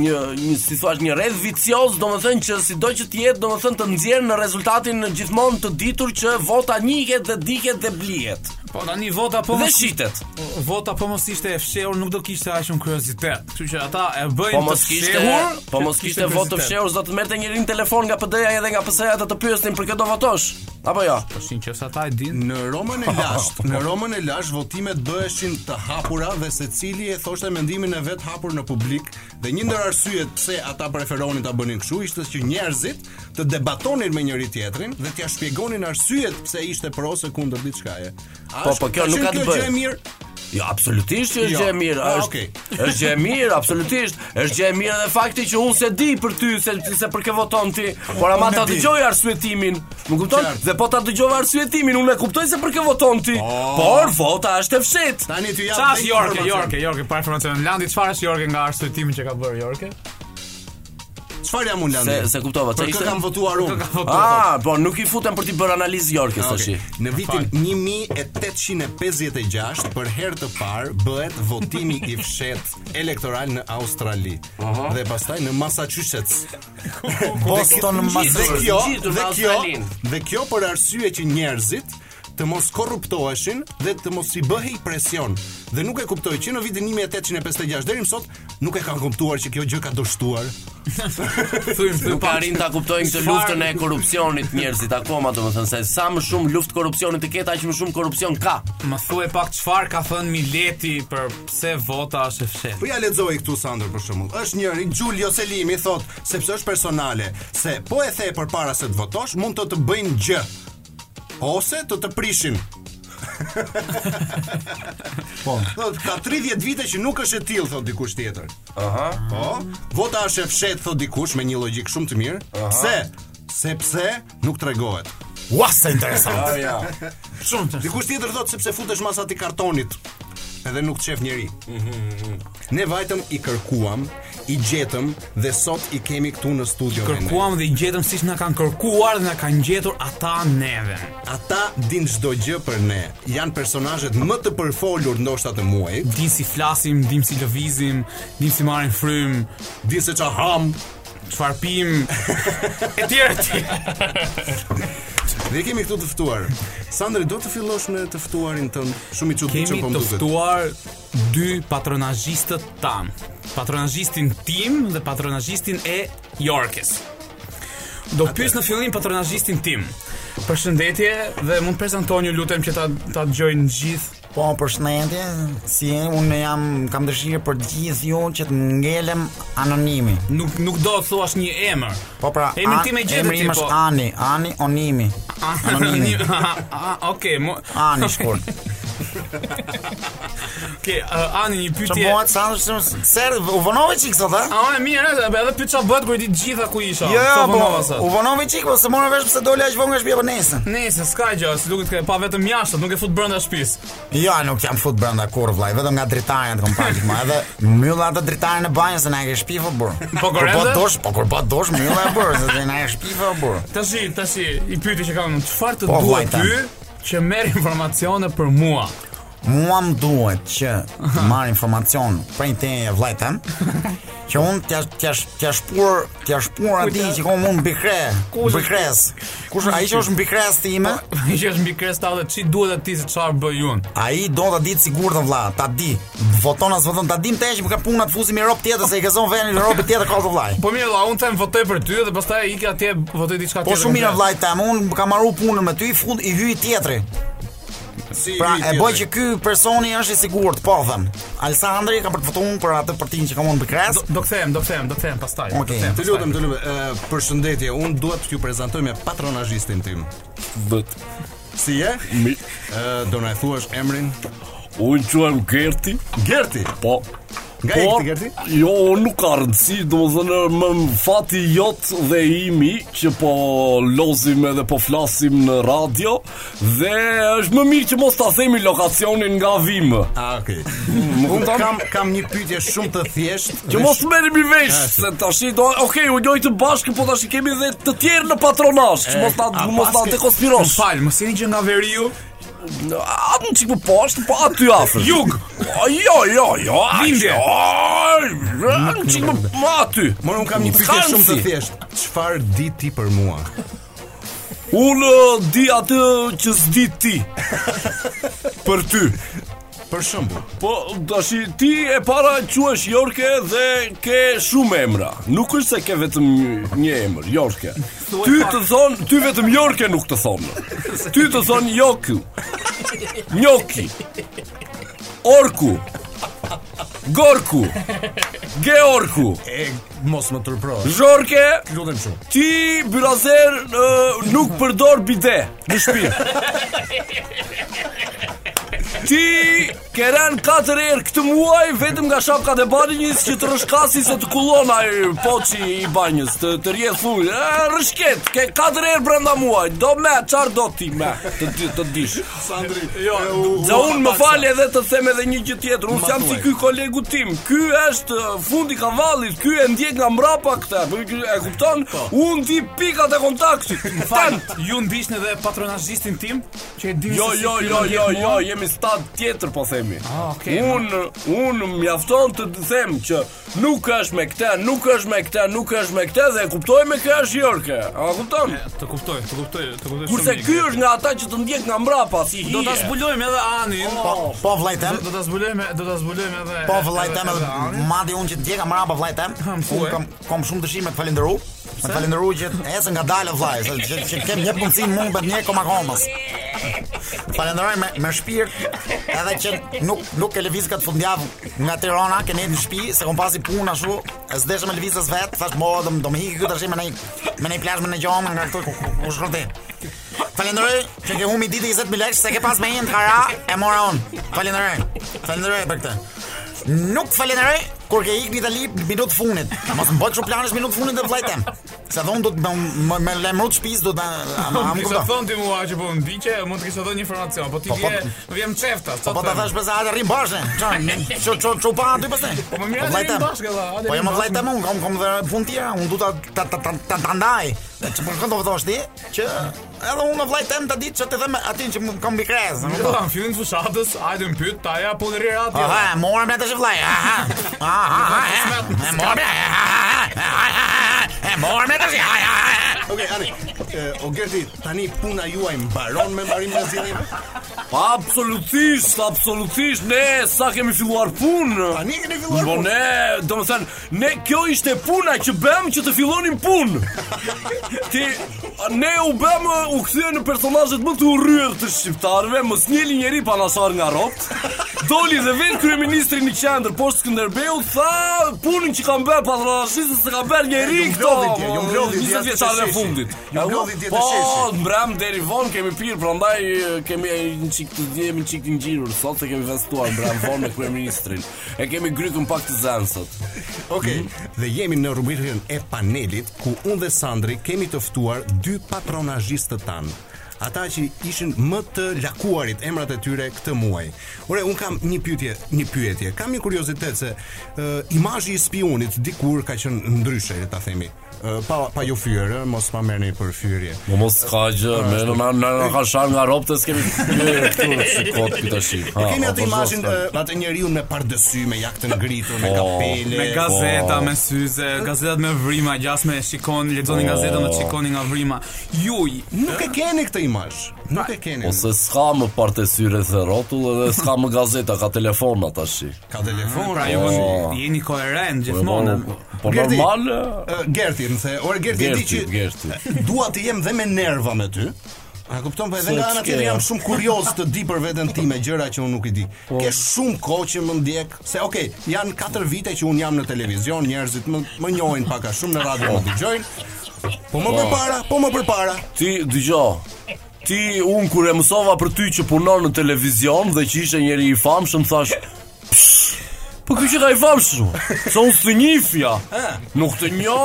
[SPEAKER 4] një një si thua një rreth vicioz, do të thënë që sido që të jetë, do të thënë të nxjerr në rezultatin në gjithmonë të ditur që vota njihet dhe diket dhe blihet
[SPEAKER 6] Po tani vota po
[SPEAKER 4] dhe
[SPEAKER 6] mos-
[SPEAKER 4] shitet.
[SPEAKER 6] Vota po mos ishte e fshehur, nuk do kishte aq shumë kuriozitet. Kështu që ata e bëjnë
[SPEAKER 4] Po mos kishte
[SPEAKER 6] fshehur,
[SPEAKER 4] po
[SPEAKER 6] që
[SPEAKER 4] mos
[SPEAKER 6] të
[SPEAKER 4] kishte votë të
[SPEAKER 6] kuriozitet.
[SPEAKER 4] fshehur, do të merrte njërin telefon nga PD-ja edhe nga PS-ja të të pyesnin për këtë do votosh. Apo jo?
[SPEAKER 6] Po shin që ata e din.
[SPEAKER 7] Në Romën e Lasht, në Romën e Lasht votimet bëheshin të hapura dhe secili e thoshte mendimin e vet hapur në publik dhe një ndër arsyet pse ata preferonin ta bënin kështu ishte që njerëzit të debatonin me njëri tjetrin dhe t'ia shpjegonin arsyet pse ishte pro ose kundër diçkaje. A
[SPEAKER 4] Po,
[SPEAKER 7] është-
[SPEAKER 4] po, kjo nuk
[SPEAKER 7] qenë
[SPEAKER 4] ka të
[SPEAKER 7] kjo gjë
[SPEAKER 4] bëjë.
[SPEAKER 7] e mirë.
[SPEAKER 4] Jo, absolutisht që është
[SPEAKER 7] Jo.
[SPEAKER 4] gjë e mirë,
[SPEAKER 7] Ah,
[SPEAKER 4] është.
[SPEAKER 7] okej.
[SPEAKER 4] Është gjë e mirë, absolutisht. Është gjë e mirë edhe fakti që unë se di për ty se se për kë voton ti, por ama
[SPEAKER 5] Unë e
[SPEAKER 4] ta
[SPEAKER 5] di.
[SPEAKER 4] dëgjoj arsyetimin. Më kupton?
[SPEAKER 7] Qartë.
[SPEAKER 4] Dhe po ta dëgjova arsyetimin, unë e kuptoj se për kë voton ti,
[SPEAKER 7] Po.
[SPEAKER 4] por vota është e fshehtë.
[SPEAKER 7] Tani ty jap.
[SPEAKER 6] Qa
[SPEAKER 7] dhe
[SPEAKER 6] është Jorke,
[SPEAKER 7] informacion.
[SPEAKER 6] Jorke, Jorke, para informacionin Landi, çfarë është Jorke nga arsyetimin që ka bërë Jorke?
[SPEAKER 7] Çfarë jam unë landi?
[SPEAKER 4] Se se kuptova,
[SPEAKER 7] Për
[SPEAKER 4] çfarë
[SPEAKER 7] kë
[SPEAKER 4] ishte?
[SPEAKER 7] kam votuar unë?
[SPEAKER 4] Ah, po nuk i futem për t'i bërë analizë Jorkës
[SPEAKER 7] Ah,
[SPEAKER 4] tash.
[SPEAKER 7] okay. Në vitin 1856 për herë të parë bëhet votimi i fshet elektoral në Australi dhe pastaj në Massachusetts.
[SPEAKER 5] Boston,
[SPEAKER 7] Dhe
[SPEAKER 5] Massachusetts.
[SPEAKER 7] kjo,
[SPEAKER 4] Gjithë në
[SPEAKER 7] dhe kjo,
[SPEAKER 4] Australinë.
[SPEAKER 7] dhe kjo për arsye që njerëzit të mos korruptoheshin dhe të mos i bëhej presion. Dhe nuk e kuptoj që në vitin 1856 deri më sot nuk e kanë kuptuar që kjo gjë ka dështuar.
[SPEAKER 6] Thuim, thuim
[SPEAKER 4] Nuk arrin ta kuptojnë këtë luftën e korrupsionit njerëzit akoma, domethënë se sa më shumë luftë korrupsionit të ketë, aq më shumë korrupsion ka.
[SPEAKER 6] Më thuaj pak çfarë ka thënë Mileti për pse vota është e fshehtë.
[SPEAKER 7] Po ja lexoj këtu Sandër për shembull. Është njëri Giulio Selimi thot, sepse është personale, se po e the përpara se të votosh, mund të të bëjnë gjë ose të të prishin. po, thot, ka 30 vite që nuk është e tillë thot dikush tjetër. Aha. Po, vota është e fshehtë thot dikush me një logjik shumë të mirë. Pse? Sepse nuk tregohet.
[SPEAKER 5] Ua, sa interesant.
[SPEAKER 7] Dikush tjetër thot sepse futesh masat i kartonit edhe nuk të shef njeri. Ne vajtëm i kërkuam, i gjetëm dhe sot i kemi këtu në studio. me ne.
[SPEAKER 6] Kërkuam dhe i gjetëm siç na kanë kërkuar dhe na kanë gjetur ata neve.
[SPEAKER 7] Ata din çdo gjë për ne. Janë personazhet më të përfolur ndoshta të muajit.
[SPEAKER 6] Dim si flasim, dim si lëvizim, dim si marrim frym,
[SPEAKER 7] Din se çfarë ham.
[SPEAKER 6] çfarë pim, etj etj.
[SPEAKER 7] Ne kemi këtu të ftuar. Sandri, do të fillosh me të ftuarin tënd shumë i çuditshëm
[SPEAKER 6] Kemi
[SPEAKER 7] po më
[SPEAKER 6] të
[SPEAKER 7] duket.
[SPEAKER 6] ftuar dy patronazhistët tan. Patronazhistin tim dhe patronazhistin e Yorkes. Do pyes në fillim patronazhistin tim. Përshëndetje dhe mund prezantoj ju lutem që ta ta dëgjojnë gjithë.
[SPEAKER 5] Po, për shëndetje, si unë jam, kam dëshirë për gjithë ju që të ngelem anonimi.
[SPEAKER 6] Nuk nuk do të thuash një emër.
[SPEAKER 5] Po pra,
[SPEAKER 6] emrin
[SPEAKER 5] An-
[SPEAKER 6] tim e gjetë
[SPEAKER 5] emri
[SPEAKER 6] ti
[SPEAKER 5] im
[SPEAKER 6] po.
[SPEAKER 5] është Ani, Ani Onimi. Anonimi.
[SPEAKER 6] Okej, mo-
[SPEAKER 5] Ani shkurt.
[SPEAKER 6] Ke uh, ani një
[SPEAKER 5] Që
[SPEAKER 6] pyetje.
[SPEAKER 5] bëhet sa është serv, u vonove çik sot, a?
[SPEAKER 6] A e mirë, edhe edhe pyet çfarë bëhet kur i di të gjitha ku isha.
[SPEAKER 5] Jo,
[SPEAKER 6] sa
[SPEAKER 5] jo, po,
[SPEAKER 6] vonova sot.
[SPEAKER 5] u vonove çik, po se mora vesh pse dole aq vonë nga shtëpia po nesër.
[SPEAKER 6] Nëse s'ka gjë, si duket ka pa vetëm jashtët, nuk e fut brenda shtëpisë.
[SPEAKER 5] Jo, nuk jam fut brenda kur vllai, vetëm nga dritarja të kompakt më, edhe mbyll atë dritarën e banjës se na e ke shpifë burr.
[SPEAKER 6] Po,
[SPEAKER 5] kur po
[SPEAKER 6] korrente?
[SPEAKER 5] dosh, po kur po dosh mbyll e burr, se na e shpifë burr.
[SPEAKER 6] Tash, tash i pyeti që kam, çfarë të
[SPEAKER 5] Po,
[SPEAKER 6] duhet
[SPEAKER 5] vllajta.
[SPEAKER 6] ty që merr informacione për mua?
[SPEAKER 5] Mua më duhet që të marr informacion prej teje vllajt tan. Që unë t'ja t'ja t'ja shpur, t'ja shpur atij që kom unë mbi kre, mbi kres. Kush ai që është mbi kres time?
[SPEAKER 6] Që është mbi kresta dhe ç'i duhet atë se çfarë bëj unë.
[SPEAKER 5] A i do të ditë sigur të vla, ta di Voton as voton, ta dim të eqë më ka puna të fusim i Europë tjetër Se i këzon veni në Europë tjetër ka të vlaj
[SPEAKER 6] Po mirë, vlla, unë them votoj për ty dhe pastaj ik atje votoj diçka
[SPEAKER 5] Po
[SPEAKER 6] tjetër.
[SPEAKER 5] shumë mirë vlaj
[SPEAKER 6] komplet.
[SPEAKER 5] ta, unë ka marru punën me ty, fund i hyi tjetri
[SPEAKER 7] Si
[SPEAKER 5] Pra
[SPEAKER 7] i
[SPEAKER 5] e
[SPEAKER 7] tjetri.
[SPEAKER 5] bëj që ky personi është i sigurt, po them Alessandri ka për të votuar për atë partinë që ka mund bikres
[SPEAKER 6] Do- Do kthehem, do kthehem, do kthehem pastaj. do
[SPEAKER 5] Okej.
[SPEAKER 6] kthehem
[SPEAKER 7] Të
[SPEAKER 6] pastaj.
[SPEAKER 7] lutem, të lutem. Ë, përshëndetje, unë duhet t'ju prezantoj me patronazhistin tim.
[SPEAKER 4] Vët.
[SPEAKER 7] Si je?
[SPEAKER 4] Mi,
[SPEAKER 7] Ë, do na e thuash emrin?
[SPEAKER 4] unë quhem Gerti,
[SPEAKER 7] Gerti.
[SPEAKER 4] po.
[SPEAKER 7] Nga
[SPEAKER 4] Por,
[SPEAKER 7] e këti Gerti?
[SPEAKER 4] Jo, nuk ka rëndësi, do më thënë më më fati jot dhe imi që po lozim edhe po flasim në radio dhe është më mirë që mos ta themi lokacionin nga vimë.
[SPEAKER 7] Ah, okay. Unë kam kam një pyetje shumë të thjeshtë.
[SPEAKER 4] Që
[SPEAKER 7] dhe
[SPEAKER 4] mos
[SPEAKER 7] shumë-
[SPEAKER 4] merrim i vesh, se tash do, okay, u loj të bashkë, po tash i kemi edhe të tjerë në patronazh, që mos ta
[SPEAKER 7] a,
[SPEAKER 4] mos ta
[SPEAKER 7] paske-
[SPEAKER 4] dekonspirosh.
[SPEAKER 6] Fal, mos jeni që nga veriu.
[SPEAKER 4] Atë në qikë për poshtë, po aty afër.
[SPEAKER 6] Jug.
[SPEAKER 4] O, Jo, jo, jo. a,
[SPEAKER 6] Lindje.
[SPEAKER 4] jo, a, Në qikë për më aty.
[SPEAKER 7] Por unë kam një pyetje
[SPEAKER 4] S'ka
[SPEAKER 7] shumë të
[SPEAKER 4] rëndsi.
[SPEAKER 7] thjeshtë. Çfarë di ti për mua?
[SPEAKER 4] Unë ë, di atë që s'di ti. për ty.
[SPEAKER 7] Për shembull,
[SPEAKER 4] Po, tash ti e para quhesh Jorke dhe ke shumë emra. Nuk është se ke vetëm një- një emër, Jorke. Ty të thon, ty vetëm Jorke nuk të thon. Ty të thon Joku. Njoki. Orku. Gorku. Georku.
[SPEAKER 7] e mos më turpro.
[SPEAKER 4] Zhorke,
[SPEAKER 7] Lutem shumë.
[SPEAKER 4] ti byrazer ë, nuk përdor bide në shtëpi. Ti ke rënë katër herë këtë muaj vetëm nga shapkat e banjës që të rëshkasi se të kullon ai poçi i banjës, të të rjedh thulë. E, Rëshket, ke katër herë brenda muajit. Do me, çfarë do ti me? Të di- të dish.
[SPEAKER 7] Sandri, jo, u-
[SPEAKER 4] Dhe
[SPEAKER 7] u-
[SPEAKER 4] unë më falë edhe të them edhe një gjë tjetër Unë
[SPEAKER 7] Ma
[SPEAKER 4] jam si
[SPEAKER 7] thuaj.
[SPEAKER 4] ky kolegu tim Ky është uh, fundi kavallit Ky e ndjek nga mrapa këta Për- ky- E kupton?
[SPEAKER 7] Po.
[SPEAKER 4] Unë di pikat e kontaktit
[SPEAKER 6] Fal,
[SPEAKER 4] Tan
[SPEAKER 6] ju ndiqni edhe patronazhistin tim që e dini
[SPEAKER 4] Jo,
[SPEAKER 6] se si
[SPEAKER 4] jo,
[SPEAKER 6] ti
[SPEAKER 4] jo,
[SPEAKER 6] më ndjek
[SPEAKER 4] jo,
[SPEAKER 6] mua.
[SPEAKER 4] jo, jemi stad tjetër po themi
[SPEAKER 6] Ah, okay.
[SPEAKER 4] Unë, unë mjafton të të them që Nuk është me këte, nuk është me këte, nuk është me këte Dhe e kuptoj me këte është jorke A kupton?
[SPEAKER 6] Të kuptoj, të kuptoj, të kuptoj.
[SPEAKER 4] Kurse
[SPEAKER 6] Eh, mirë.
[SPEAKER 4] ky është nga ata që të ndjek nga mrapa Si hije
[SPEAKER 6] do ta zbulojmë edhe anin.
[SPEAKER 5] Po, po vllajtem,
[SPEAKER 6] Do ta zbulojmë, do ta zbulojmë edhe
[SPEAKER 5] po
[SPEAKER 6] edhe-
[SPEAKER 5] vllajtem
[SPEAKER 6] edhe
[SPEAKER 5] edhe
[SPEAKER 6] anin.
[SPEAKER 5] madje unë që të djeka mrapa vllajtem. Unë
[SPEAKER 6] thuaj.
[SPEAKER 5] kam kam shumë dëshirë me të falenderoj. Me të falenderoj që ecën nga dalë vllaj, se që, që kem një mundësinë mua për një koma komës. Falenderoj me me shpirt, edhe që nuk nuk e lëviz këtë fundjavë nga Tirana, ke ne në shtëpi, se kom pasi punë ashtu, e s'desh me lëvizës vet, thash mo do do më hiqi këtu tash me një me një plazh me një gjamë nga këtu ku- ku shkon ti. Falenderoj që ke humbi ditë 20000 lekë se ke pas me një kara e mora un. Falenderoj. Falenderoj për këtë. Nuk falenderoj kur ke ikë në Itali minutë funit. Mos më bëj kështu planesh minutë funit dhe vllajtem. Sa dhon do të më- më më lajmëroj shtëpis do të ama
[SPEAKER 6] Më
[SPEAKER 5] am
[SPEAKER 6] kisha
[SPEAKER 5] kupton.
[SPEAKER 6] thonë ti mua që po më ndiqe, mund të kisha dhënë informacion, po ti
[SPEAKER 5] Po, po-
[SPEAKER 6] vje, vjem çefta,
[SPEAKER 5] Po
[SPEAKER 6] çfarë?
[SPEAKER 5] po ta thash pse hajde rrim bashkë. Çan, çu çu çu pa aty pastaj. Po
[SPEAKER 6] më mirë hajde
[SPEAKER 5] vllajtem.
[SPEAKER 6] rrim bashkë, valla, hajde
[SPEAKER 5] Po
[SPEAKER 6] rrim
[SPEAKER 5] jam vllajtem unë, kam kam dhe punë tjera, unë du ta ta ta ta ta, ta ndaj. Dhe Që po këndo thosh ti që edhe unë me vllajtem ta ditë që të them atin që më kam bikres. më kupton?
[SPEAKER 6] Po, në fillim të fushatës, hajde më pyet, ta ja po në rira atje.
[SPEAKER 5] Aha, morëm në të shvllaj. Aha. Aha, aha. e, E morëm. e, aha, aha, aha, E morëm në të shvllaj.
[SPEAKER 7] Okej, ani. Ë, O Gerti, tani puna juaj mbaron me mbarim me zgjedhjeve?
[SPEAKER 4] Absolutisht, absolutisht, ne sa kemi filluar punë
[SPEAKER 7] Tani keni filluar
[SPEAKER 4] Po
[SPEAKER 7] punë.
[SPEAKER 4] ne, do më thënë, ne kjo ishte puna që bëm që të fillonim punë Ti, ne u bëm, u këthyë në personazhet më të urryer të shqiptarëve Mos njeli njeri panasar nga ropt Doli dhe vetë kryeministri në qendër po poshtë Skënderbeu Tha punën që kam bërë patronazhisës se kam bërë njeri
[SPEAKER 7] Ju
[SPEAKER 4] këto
[SPEAKER 7] mblodhin tje, ju mblodhin lodhi
[SPEAKER 4] 20
[SPEAKER 7] djathtë
[SPEAKER 4] vjeçarëve
[SPEAKER 7] sheshi.
[SPEAKER 4] fundit.
[SPEAKER 7] Ju
[SPEAKER 4] Au,
[SPEAKER 7] lodhi djathtë
[SPEAKER 4] Po,
[SPEAKER 7] sheshi.
[SPEAKER 4] mbram deri vonë kemi pirë, prandaj e, kemi e, një çik të djemi, një çik të ngjirur. Sot e kemi festuar mbram vonë me kryeministrin. E kemi grykën pak të Mhm. zënë sot.
[SPEAKER 7] Okej, dhe jemi në rubrikën e panelit ku unë dhe Sandri kemi të ftuar dy patronazhistë tan. Ata që ishin më të lakuarit emrat e tyre këtë muaj. Ore, un kam një pyetje, një pyetje. Kam një kuriozitet se uh, imazhi i spionit dikur ka qenë ndryshe, le ta themi. Ë, pa pa ju fyer, ë, mos ma merrni për fyrje.
[SPEAKER 4] Po mos ka gjë, më në në në ka shar nga ropë të s'kemi këtu si kot këtu tash.
[SPEAKER 7] E kemi
[SPEAKER 4] po
[SPEAKER 7] atë imazhin ë, atë njeriu me pardesy, me jaktën ngritur, me
[SPEAKER 4] Po.
[SPEAKER 7] kapele.
[SPEAKER 6] Me gazeta, me syze, gazetat me vrima, gjas me shikon, lexoni
[SPEAKER 4] Po.
[SPEAKER 6] gazetën dhe të shikoni nga vrima. Ju
[SPEAKER 7] Nuk e keni këtë imazh. Nuk e keni.
[SPEAKER 4] Ose s'ka më partesyre të rotull edhe s'ka më gazeta, ka telefona tash.
[SPEAKER 7] ka telefon.
[SPEAKER 6] pra ju jeni koherent
[SPEAKER 4] Po
[SPEAKER 6] gjithmonë.
[SPEAKER 4] po
[SPEAKER 7] Gerti.
[SPEAKER 4] normal.
[SPEAKER 7] Ë, Gerti, më the, ore Gerti, e di
[SPEAKER 4] Gerti,
[SPEAKER 7] që
[SPEAKER 4] Gerti.
[SPEAKER 7] dua të jem dhe me nerva me ty. A kupton po edhe
[SPEAKER 4] Se
[SPEAKER 7] nga ana
[SPEAKER 4] ç'ke,
[SPEAKER 7] tjetër jam
[SPEAKER 4] ja?
[SPEAKER 7] shumë kurioz të di për veten time gjëra që unë nuk i di.
[SPEAKER 4] Po.
[SPEAKER 7] Ke shumë kohë që më ndjek, se okay, janë 4 vite që unë jam në televizion, njerëzit më më njohin pak a shumë në radio më dëgjojnë. Po më përpara, po më përpara.
[SPEAKER 4] Ti dëgjoj. Ti un kur e mësova për ty që punon në televizion dhe që ishe njëri i famshëm thash "Psh, Po kjo që ka i famshëm Se unë së të njifja Nuk të njo,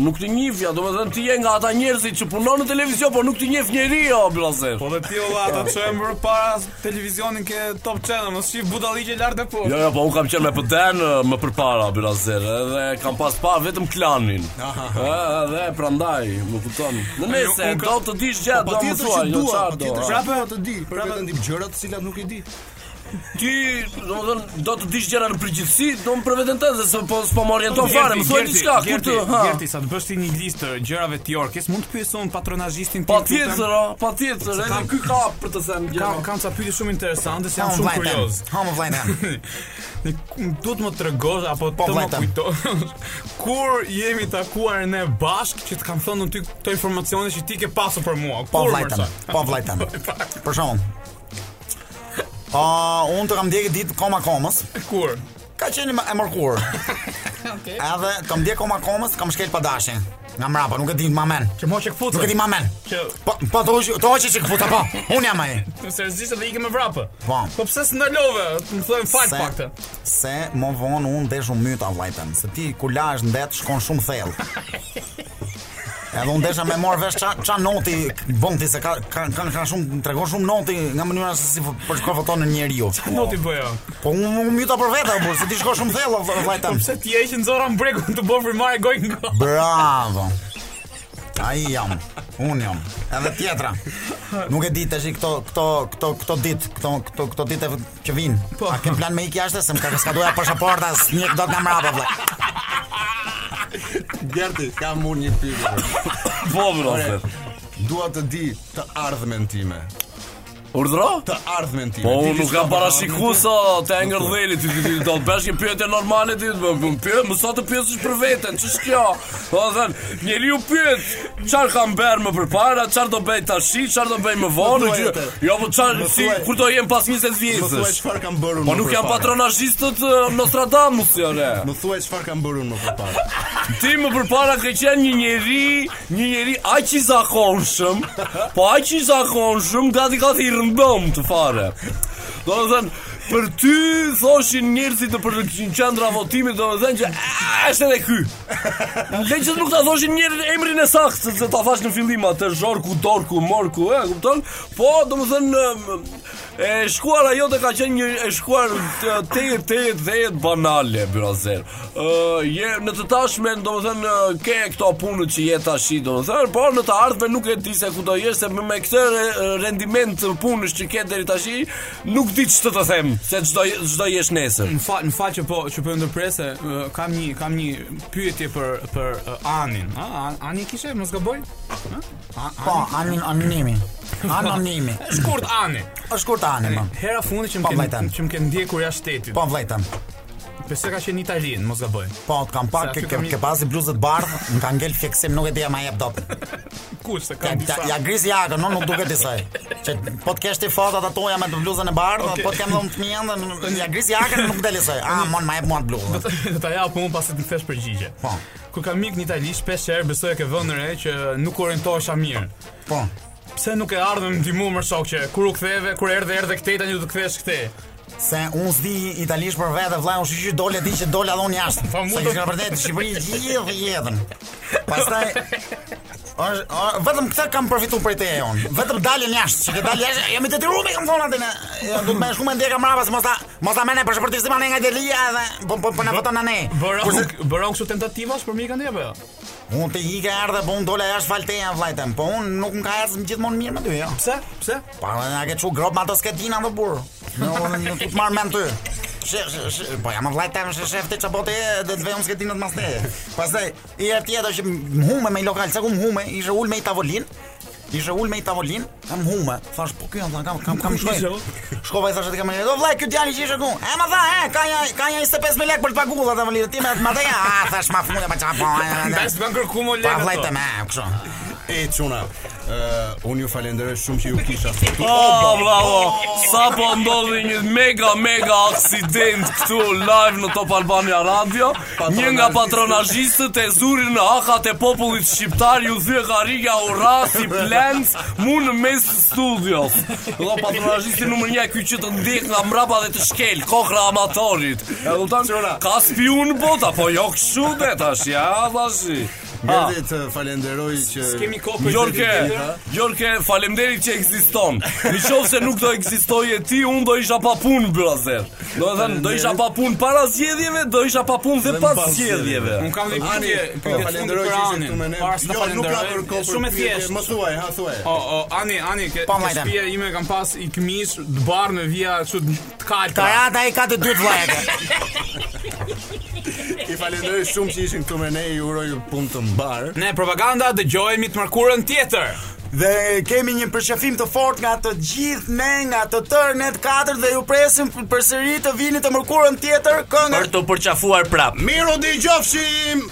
[SPEAKER 4] nuk të njifja Do me thënë ti je nga ata njerëzit që punon në televizion Po nuk të njef njeri o blazer
[SPEAKER 6] Po dhe ti olla, ata çojmë për para televizionin ke Top Channel, mos shih budalliqe lart e
[SPEAKER 4] Jo,
[SPEAKER 6] poshtë.
[SPEAKER 4] jo, po unë kam qenë me pëten më përpara Blazer Edhe kam pas pa vetëm klanin Aha. Edhe prandaj, më kupton Në nese,
[SPEAKER 6] unë
[SPEAKER 4] do
[SPEAKER 6] ka-
[SPEAKER 4] të dish gjatë, do më
[SPEAKER 7] Patjetër që
[SPEAKER 4] thuaj jo,
[SPEAKER 7] dua,
[SPEAKER 4] qarë do,
[SPEAKER 7] patjetër
[SPEAKER 4] a?
[SPEAKER 7] që të di, për veten tim gjëra të cilat nuk i di.
[SPEAKER 4] Ti, do të thënë, do të dish gjëra në përgjithësi, do më për veten tënde se po s'po më orienton fare, më thuaj diçka, ku
[SPEAKER 6] Gerti,
[SPEAKER 4] të, ha.
[SPEAKER 6] Gerti, sa të bësh ti një listë gjërave të Yorkis, mund të pyeson patronazhistin
[SPEAKER 4] Pa
[SPEAKER 6] lutem?
[SPEAKER 4] tjetër, o, pa tjetër, edhe ky ka për të thënë
[SPEAKER 6] Kam
[SPEAKER 4] gjëra.
[SPEAKER 6] kam ca pyetje shumë interesante, se
[SPEAKER 5] Ha
[SPEAKER 6] jam
[SPEAKER 5] më
[SPEAKER 6] shumë
[SPEAKER 5] vllajt tem.
[SPEAKER 6] kurioz.
[SPEAKER 5] Ha më vllajt tem.
[SPEAKER 6] Ne do të më tregosh
[SPEAKER 5] Po,
[SPEAKER 6] apo të më
[SPEAKER 5] vllajtem.
[SPEAKER 6] kujtosh kur jemi takuar ne bashkë që të kam thënë unë ty këto informacione që ti ke pasur për mua.
[SPEAKER 5] Po
[SPEAKER 6] Kur
[SPEAKER 5] vllajt tem.
[SPEAKER 6] mërsa?
[SPEAKER 5] Po vllajt tem. Për shembull. A unë të kam ndjekë ditë koma komës.
[SPEAKER 6] Kur?
[SPEAKER 5] Ka qenë e mërkur. Okej. Edhe kam ndjekë koma komës, kam shkel pa dashin. Nga mrapa, nuk e di ma men.
[SPEAKER 6] Që mo që këfucë.
[SPEAKER 5] Nuk e di ma men.
[SPEAKER 6] Që-
[SPEAKER 5] Po po to to hoqi që këfuta po. Unë jam ai.
[SPEAKER 6] Seriozisht edhe ikëm me vrapë.
[SPEAKER 5] Po.
[SPEAKER 6] Po pse s'ndalove? Të Më thënë fal
[SPEAKER 5] Se- Po.
[SPEAKER 6] pak të.
[SPEAKER 5] Se më vonë unë desh u myta vllajtën, se ti kur lash ndet shkon shumë thellë. Edhe unë desha me morë vesh qa, qa noti bën ti se ka, ka, ka, ka shumë, tregon shumë noti nga mënyra se si për shko voton në njeri ju.
[SPEAKER 6] Noti bëja.
[SPEAKER 5] Po unë unë myta për vete, po se ti shko shumë thellë, vl- vllajtën.
[SPEAKER 6] Pse ti e që nxorra mbrekun të bëvë frimare gojë nga.
[SPEAKER 5] Bravo. Ai jam, unë jam. Edhe tjetra. Nuk e di tash këto këto këto këto ditë, këto këto këto ditë që vijnë.
[SPEAKER 6] Po.
[SPEAKER 5] A kem plan me ikë jashtë se më ka kaskaduar pasaporta, s'njek dot nga mrapa vëlla.
[SPEAKER 7] Gerti, kam unë një pyetje.
[SPEAKER 4] Po, blazer.
[SPEAKER 7] Dua të di të ardhmen time.
[SPEAKER 4] Urdhro?
[SPEAKER 7] Të ardhmen time.
[SPEAKER 4] Po
[SPEAKER 7] Ti
[SPEAKER 4] unë
[SPEAKER 7] di
[SPEAKER 4] nuk
[SPEAKER 7] s'ka
[SPEAKER 4] kam parashiku
[SPEAKER 7] ardhmen?
[SPEAKER 4] sa të engër dheli ti ti- ti do të bësh një pyetje normale ti më më pyet më sa të pyetësh për veten ç'është kjo do të thënë njeriu pyet çfarë kam bërë më përpara çfarë do bëj tash çfarë do bëj më vonë
[SPEAKER 7] thuaj
[SPEAKER 4] gjë
[SPEAKER 7] atë.
[SPEAKER 4] jo po çfarë
[SPEAKER 7] Më
[SPEAKER 4] si
[SPEAKER 7] thuaj-
[SPEAKER 4] kur do jem pas 20
[SPEAKER 7] Më thuaj
[SPEAKER 4] vjetësh
[SPEAKER 7] çfarë kam bërë unë.
[SPEAKER 4] po
[SPEAKER 7] më
[SPEAKER 4] nuk janë
[SPEAKER 7] përpara.
[SPEAKER 4] patronazhistët eh, Nostradamus janë e.
[SPEAKER 7] Më thuaj çfarë kam bërë unë më përpara.
[SPEAKER 4] Ti më përpara ke qenë një njeri, një njeri aq i zakonshëm, po aq i zakonshëm gati gati i rëndom të fare. Do të thënë, për ty thoshin njerëzit në për në qendra votimit, do të thënë që "A, është edhe ky. Le që nuk ta thoshin njerë emrin e saktë, se ta thash në fillim atë Zhorku, Dorku, Morku, e kupton? Po, domethënë e shkuar ajo të ka qenë një e shkuar të- tejet, tejet, tejet banale, byrazer. Ë, je në të tashmen, domethënë ë, ke këto punët që je tash, domethënë, por në të ardhmen nuk e di se ku do jesh, se me me këtë re- rendiment të punësh që ke deri tash, nuk di ç'të të them, se çdo çdo jesh nesër.
[SPEAKER 6] Më fal, më fal që po që po ju ndërpresë, ë, kam një kam një pyetje për për ë, Anin. A, An- Ani kishe, mos gaboj? Ë? A-
[SPEAKER 5] Po, anin anonimi. Anonimi.
[SPEAKER 6] Ani? Shkurt Ani.
[SPEAKER 5] Është kurta anima.
[SPEAKER 6] Hera fundi që
[SPEAKER 5] Po,
[SPEAKER 6] më
[SPEAKER 5] vllajtan.
[SPEAKER 6] ken që më ken ndjekur jashtë shtetit.
[SPEAKER 5] Po vllajtën.
[SPEAKER 6] Besoj ka qenë në Italinë, mos gaboj.
[SPEAKER 5] Po, të kam
[SPEAKER 6] Se
[SPEAKER 5] pak,
[SPEAKER 6] aty
[SPEAKER 5] ke, ke,
[SPEAKER 6] kam i-
[SPEAKER 5] ke pasi bluzët bardhë, më ka ngel fjeksim, nuk e dija ma jep dot.
[SPEAKER 6] Kush se
[SPEAKER 5] Ja,
[SPEAKER 6] ka
[SPEAKER 5] ja,
[SPEAKER 6] disa?
[SPEAKER 5] ja gris jakën, no, nuk duket disaj. Që po të kesh ti fotat ato ja me të bluzën e bardhë, po të kem dhënë fëmijën dhe ja gris jakën nuk del disaj. Ah, mon ma jep mua të bluzën.
[SPEAKER 6] Do ta jap unë pasi të kthesh përgjigje.
[SPEAKER 5] Po.
[SPEAKER 6] Kur kam ik në Itali shpesh herë besoj e ke vënë re që nuk orientohesha mirë.
[SPEAKER 5] Po.
[SPEAKER 6] Pse nuk e ardhmë më ndihmu më shok që kur u ktheve, kur erdhe erdhe këtej tani do të kthesh këtej.
[SPEAKER 5] Se unë s'di italisht për vete, vllai, unë shiqi dole di që dole edhe unë jashtë.
[SPEAKER 6] Po, mu
[SPEAKER 5] Se
[SPEAKER 6] do-
[SPEAKER 5] kisha vërtet në Shqipëri gjithë jetën. Pastaj Është o- vetëm këtë kam përfituar prej teje unë. Vetëm daljen jashtë, që ke dalë jashtë, jam i detyruar, kam thonë atë. Ja, do të më shumë ndjeka mbrapa se mos ta mos ta mëne për shpërtisim anë nga Italia dhe po po po na voton anë.
[SPEAKER 6] Bëron bëron kështu tentativash për mikën apo jo?
[SPEAKER 5] Unë të i ka erdhe, po unë dola jashtë falteja vlajtem, po unë nuk më ka erdhë më gjithmonë mirë me ty, jo.
[SPEAKER 6] Pse? Pse?
[SPEAKER 5] Pa, unë nga ke çu grob me ato sketina dhe burë. Në unë nuk të marr mend ty. She, she, she, po jam vlajtem, she shef ti çabote dhe të vejmë sketinat mas teje. Pastaj i herë tjetër që më hume me i lokal, se ku më hume, ishe ul me i tavolin. Ishe ul me i tavolin, kam hume. Thash, po ky jam, thash, kam kam kam shkoj. Shkova i thashë të kamerë, "Do vllai, ky djali që ishe ku." E më tha, "E, ka ja ka ja 25.000 lekë për të paguar atë tavolin." Ti më më tha, "Ah, thash, ma fune pa çapo."
[SPEAKER 6] Tash bën kërku mo
[SPEAKER 5] Pa
[SPEAKER 6] lekë.
[SPEAKER 5] vllajtem, e, kështu.
[SPEAKER 7] E çuna, ë unë ju falenderoj shumë që ju kisha sot.
[SPEAKER 4] Oh, bravo! Sa po ndodhi një mega, mega aksident këtu live në Top Albania Radio. Një nga patronazhistët e zurin në hakat e popullit shqiptar ju dhye karika u ra si plens mu në mes të studios. Dhe patronazhisti numër një ky që të ndjek nga mbrapa dhe të shkel, kokra amatorit. E kupton? Ka spiun bota, po jo kështu dhe tash, ja, tash. Ha.
[SPEAKER 7] Mërdi të falenderoj që Po,
[SPEAKER 6] Kemi kohë për
[SPEAKER 4] Jorke, Jorke, faleminderit që ekziston. Në qoftë se nuk do ekzistoje ti, unë do isha pa punë, brazer. Do të thënë, do isha pa punë para zgjedhjeve, do isha pa punë dhe pas zgjedhjeve.
[SPEAKER 6] Un kam një
[SPEAKER 7] Ani,
[SPEAKER 6] pyetje,
[SPEAKER 7] po,
[SPEAKER 6] pyetje fund
[SPEAKER 7] falenderoj
[SPEAKER 6] për
[SPEAKER 7] që ishe këtu
[SPEAKER 6] Anin.
[SPEAKER 7] me ne.
[SPEAKER 6] Para se ta
[SPEAKER 7] Jo, nuk ka
[SPEAKER 6] falenderoj,
[SPEAKER 7] për kohë.
[SPEAKER 6] Shumë e
[SPEAKER 7] për pyetje,
[SPEAKER 6] thjeshtë.
[SPEAKER 7] Më thuaj, ha thuaj.
[SPEAKER 6] O, o, Ani, Ani, ke,
[SPEAKER 5] Po,
[SPEAKER 6] ke
[SPEAKER 5] vllajtem.
[SPEAKER 6] shtëpia ime kam pas i këmish të barë me vija kështu të kalta.
[SPEAKER 5] Karata i ka të dytë vllajë.
[SPEAKER 7] I falenderoj shumë që ishin këtu me ne, ju uroj punë të mbar.
[SPEAKER 6] Ne propaganda dëgjohemi të mërkurën tjetër.
[SPEAKER 5] Dhe kemi një përshëfim të fort nga të gjithë ne, nga të tërë ne të katër dhe ju presim përsëri të vini të mërkurën tjetër këngë
[SPEAKER 4] Për të përqafuar prap.
[SPEAKER 7] Miru dëgjofshim.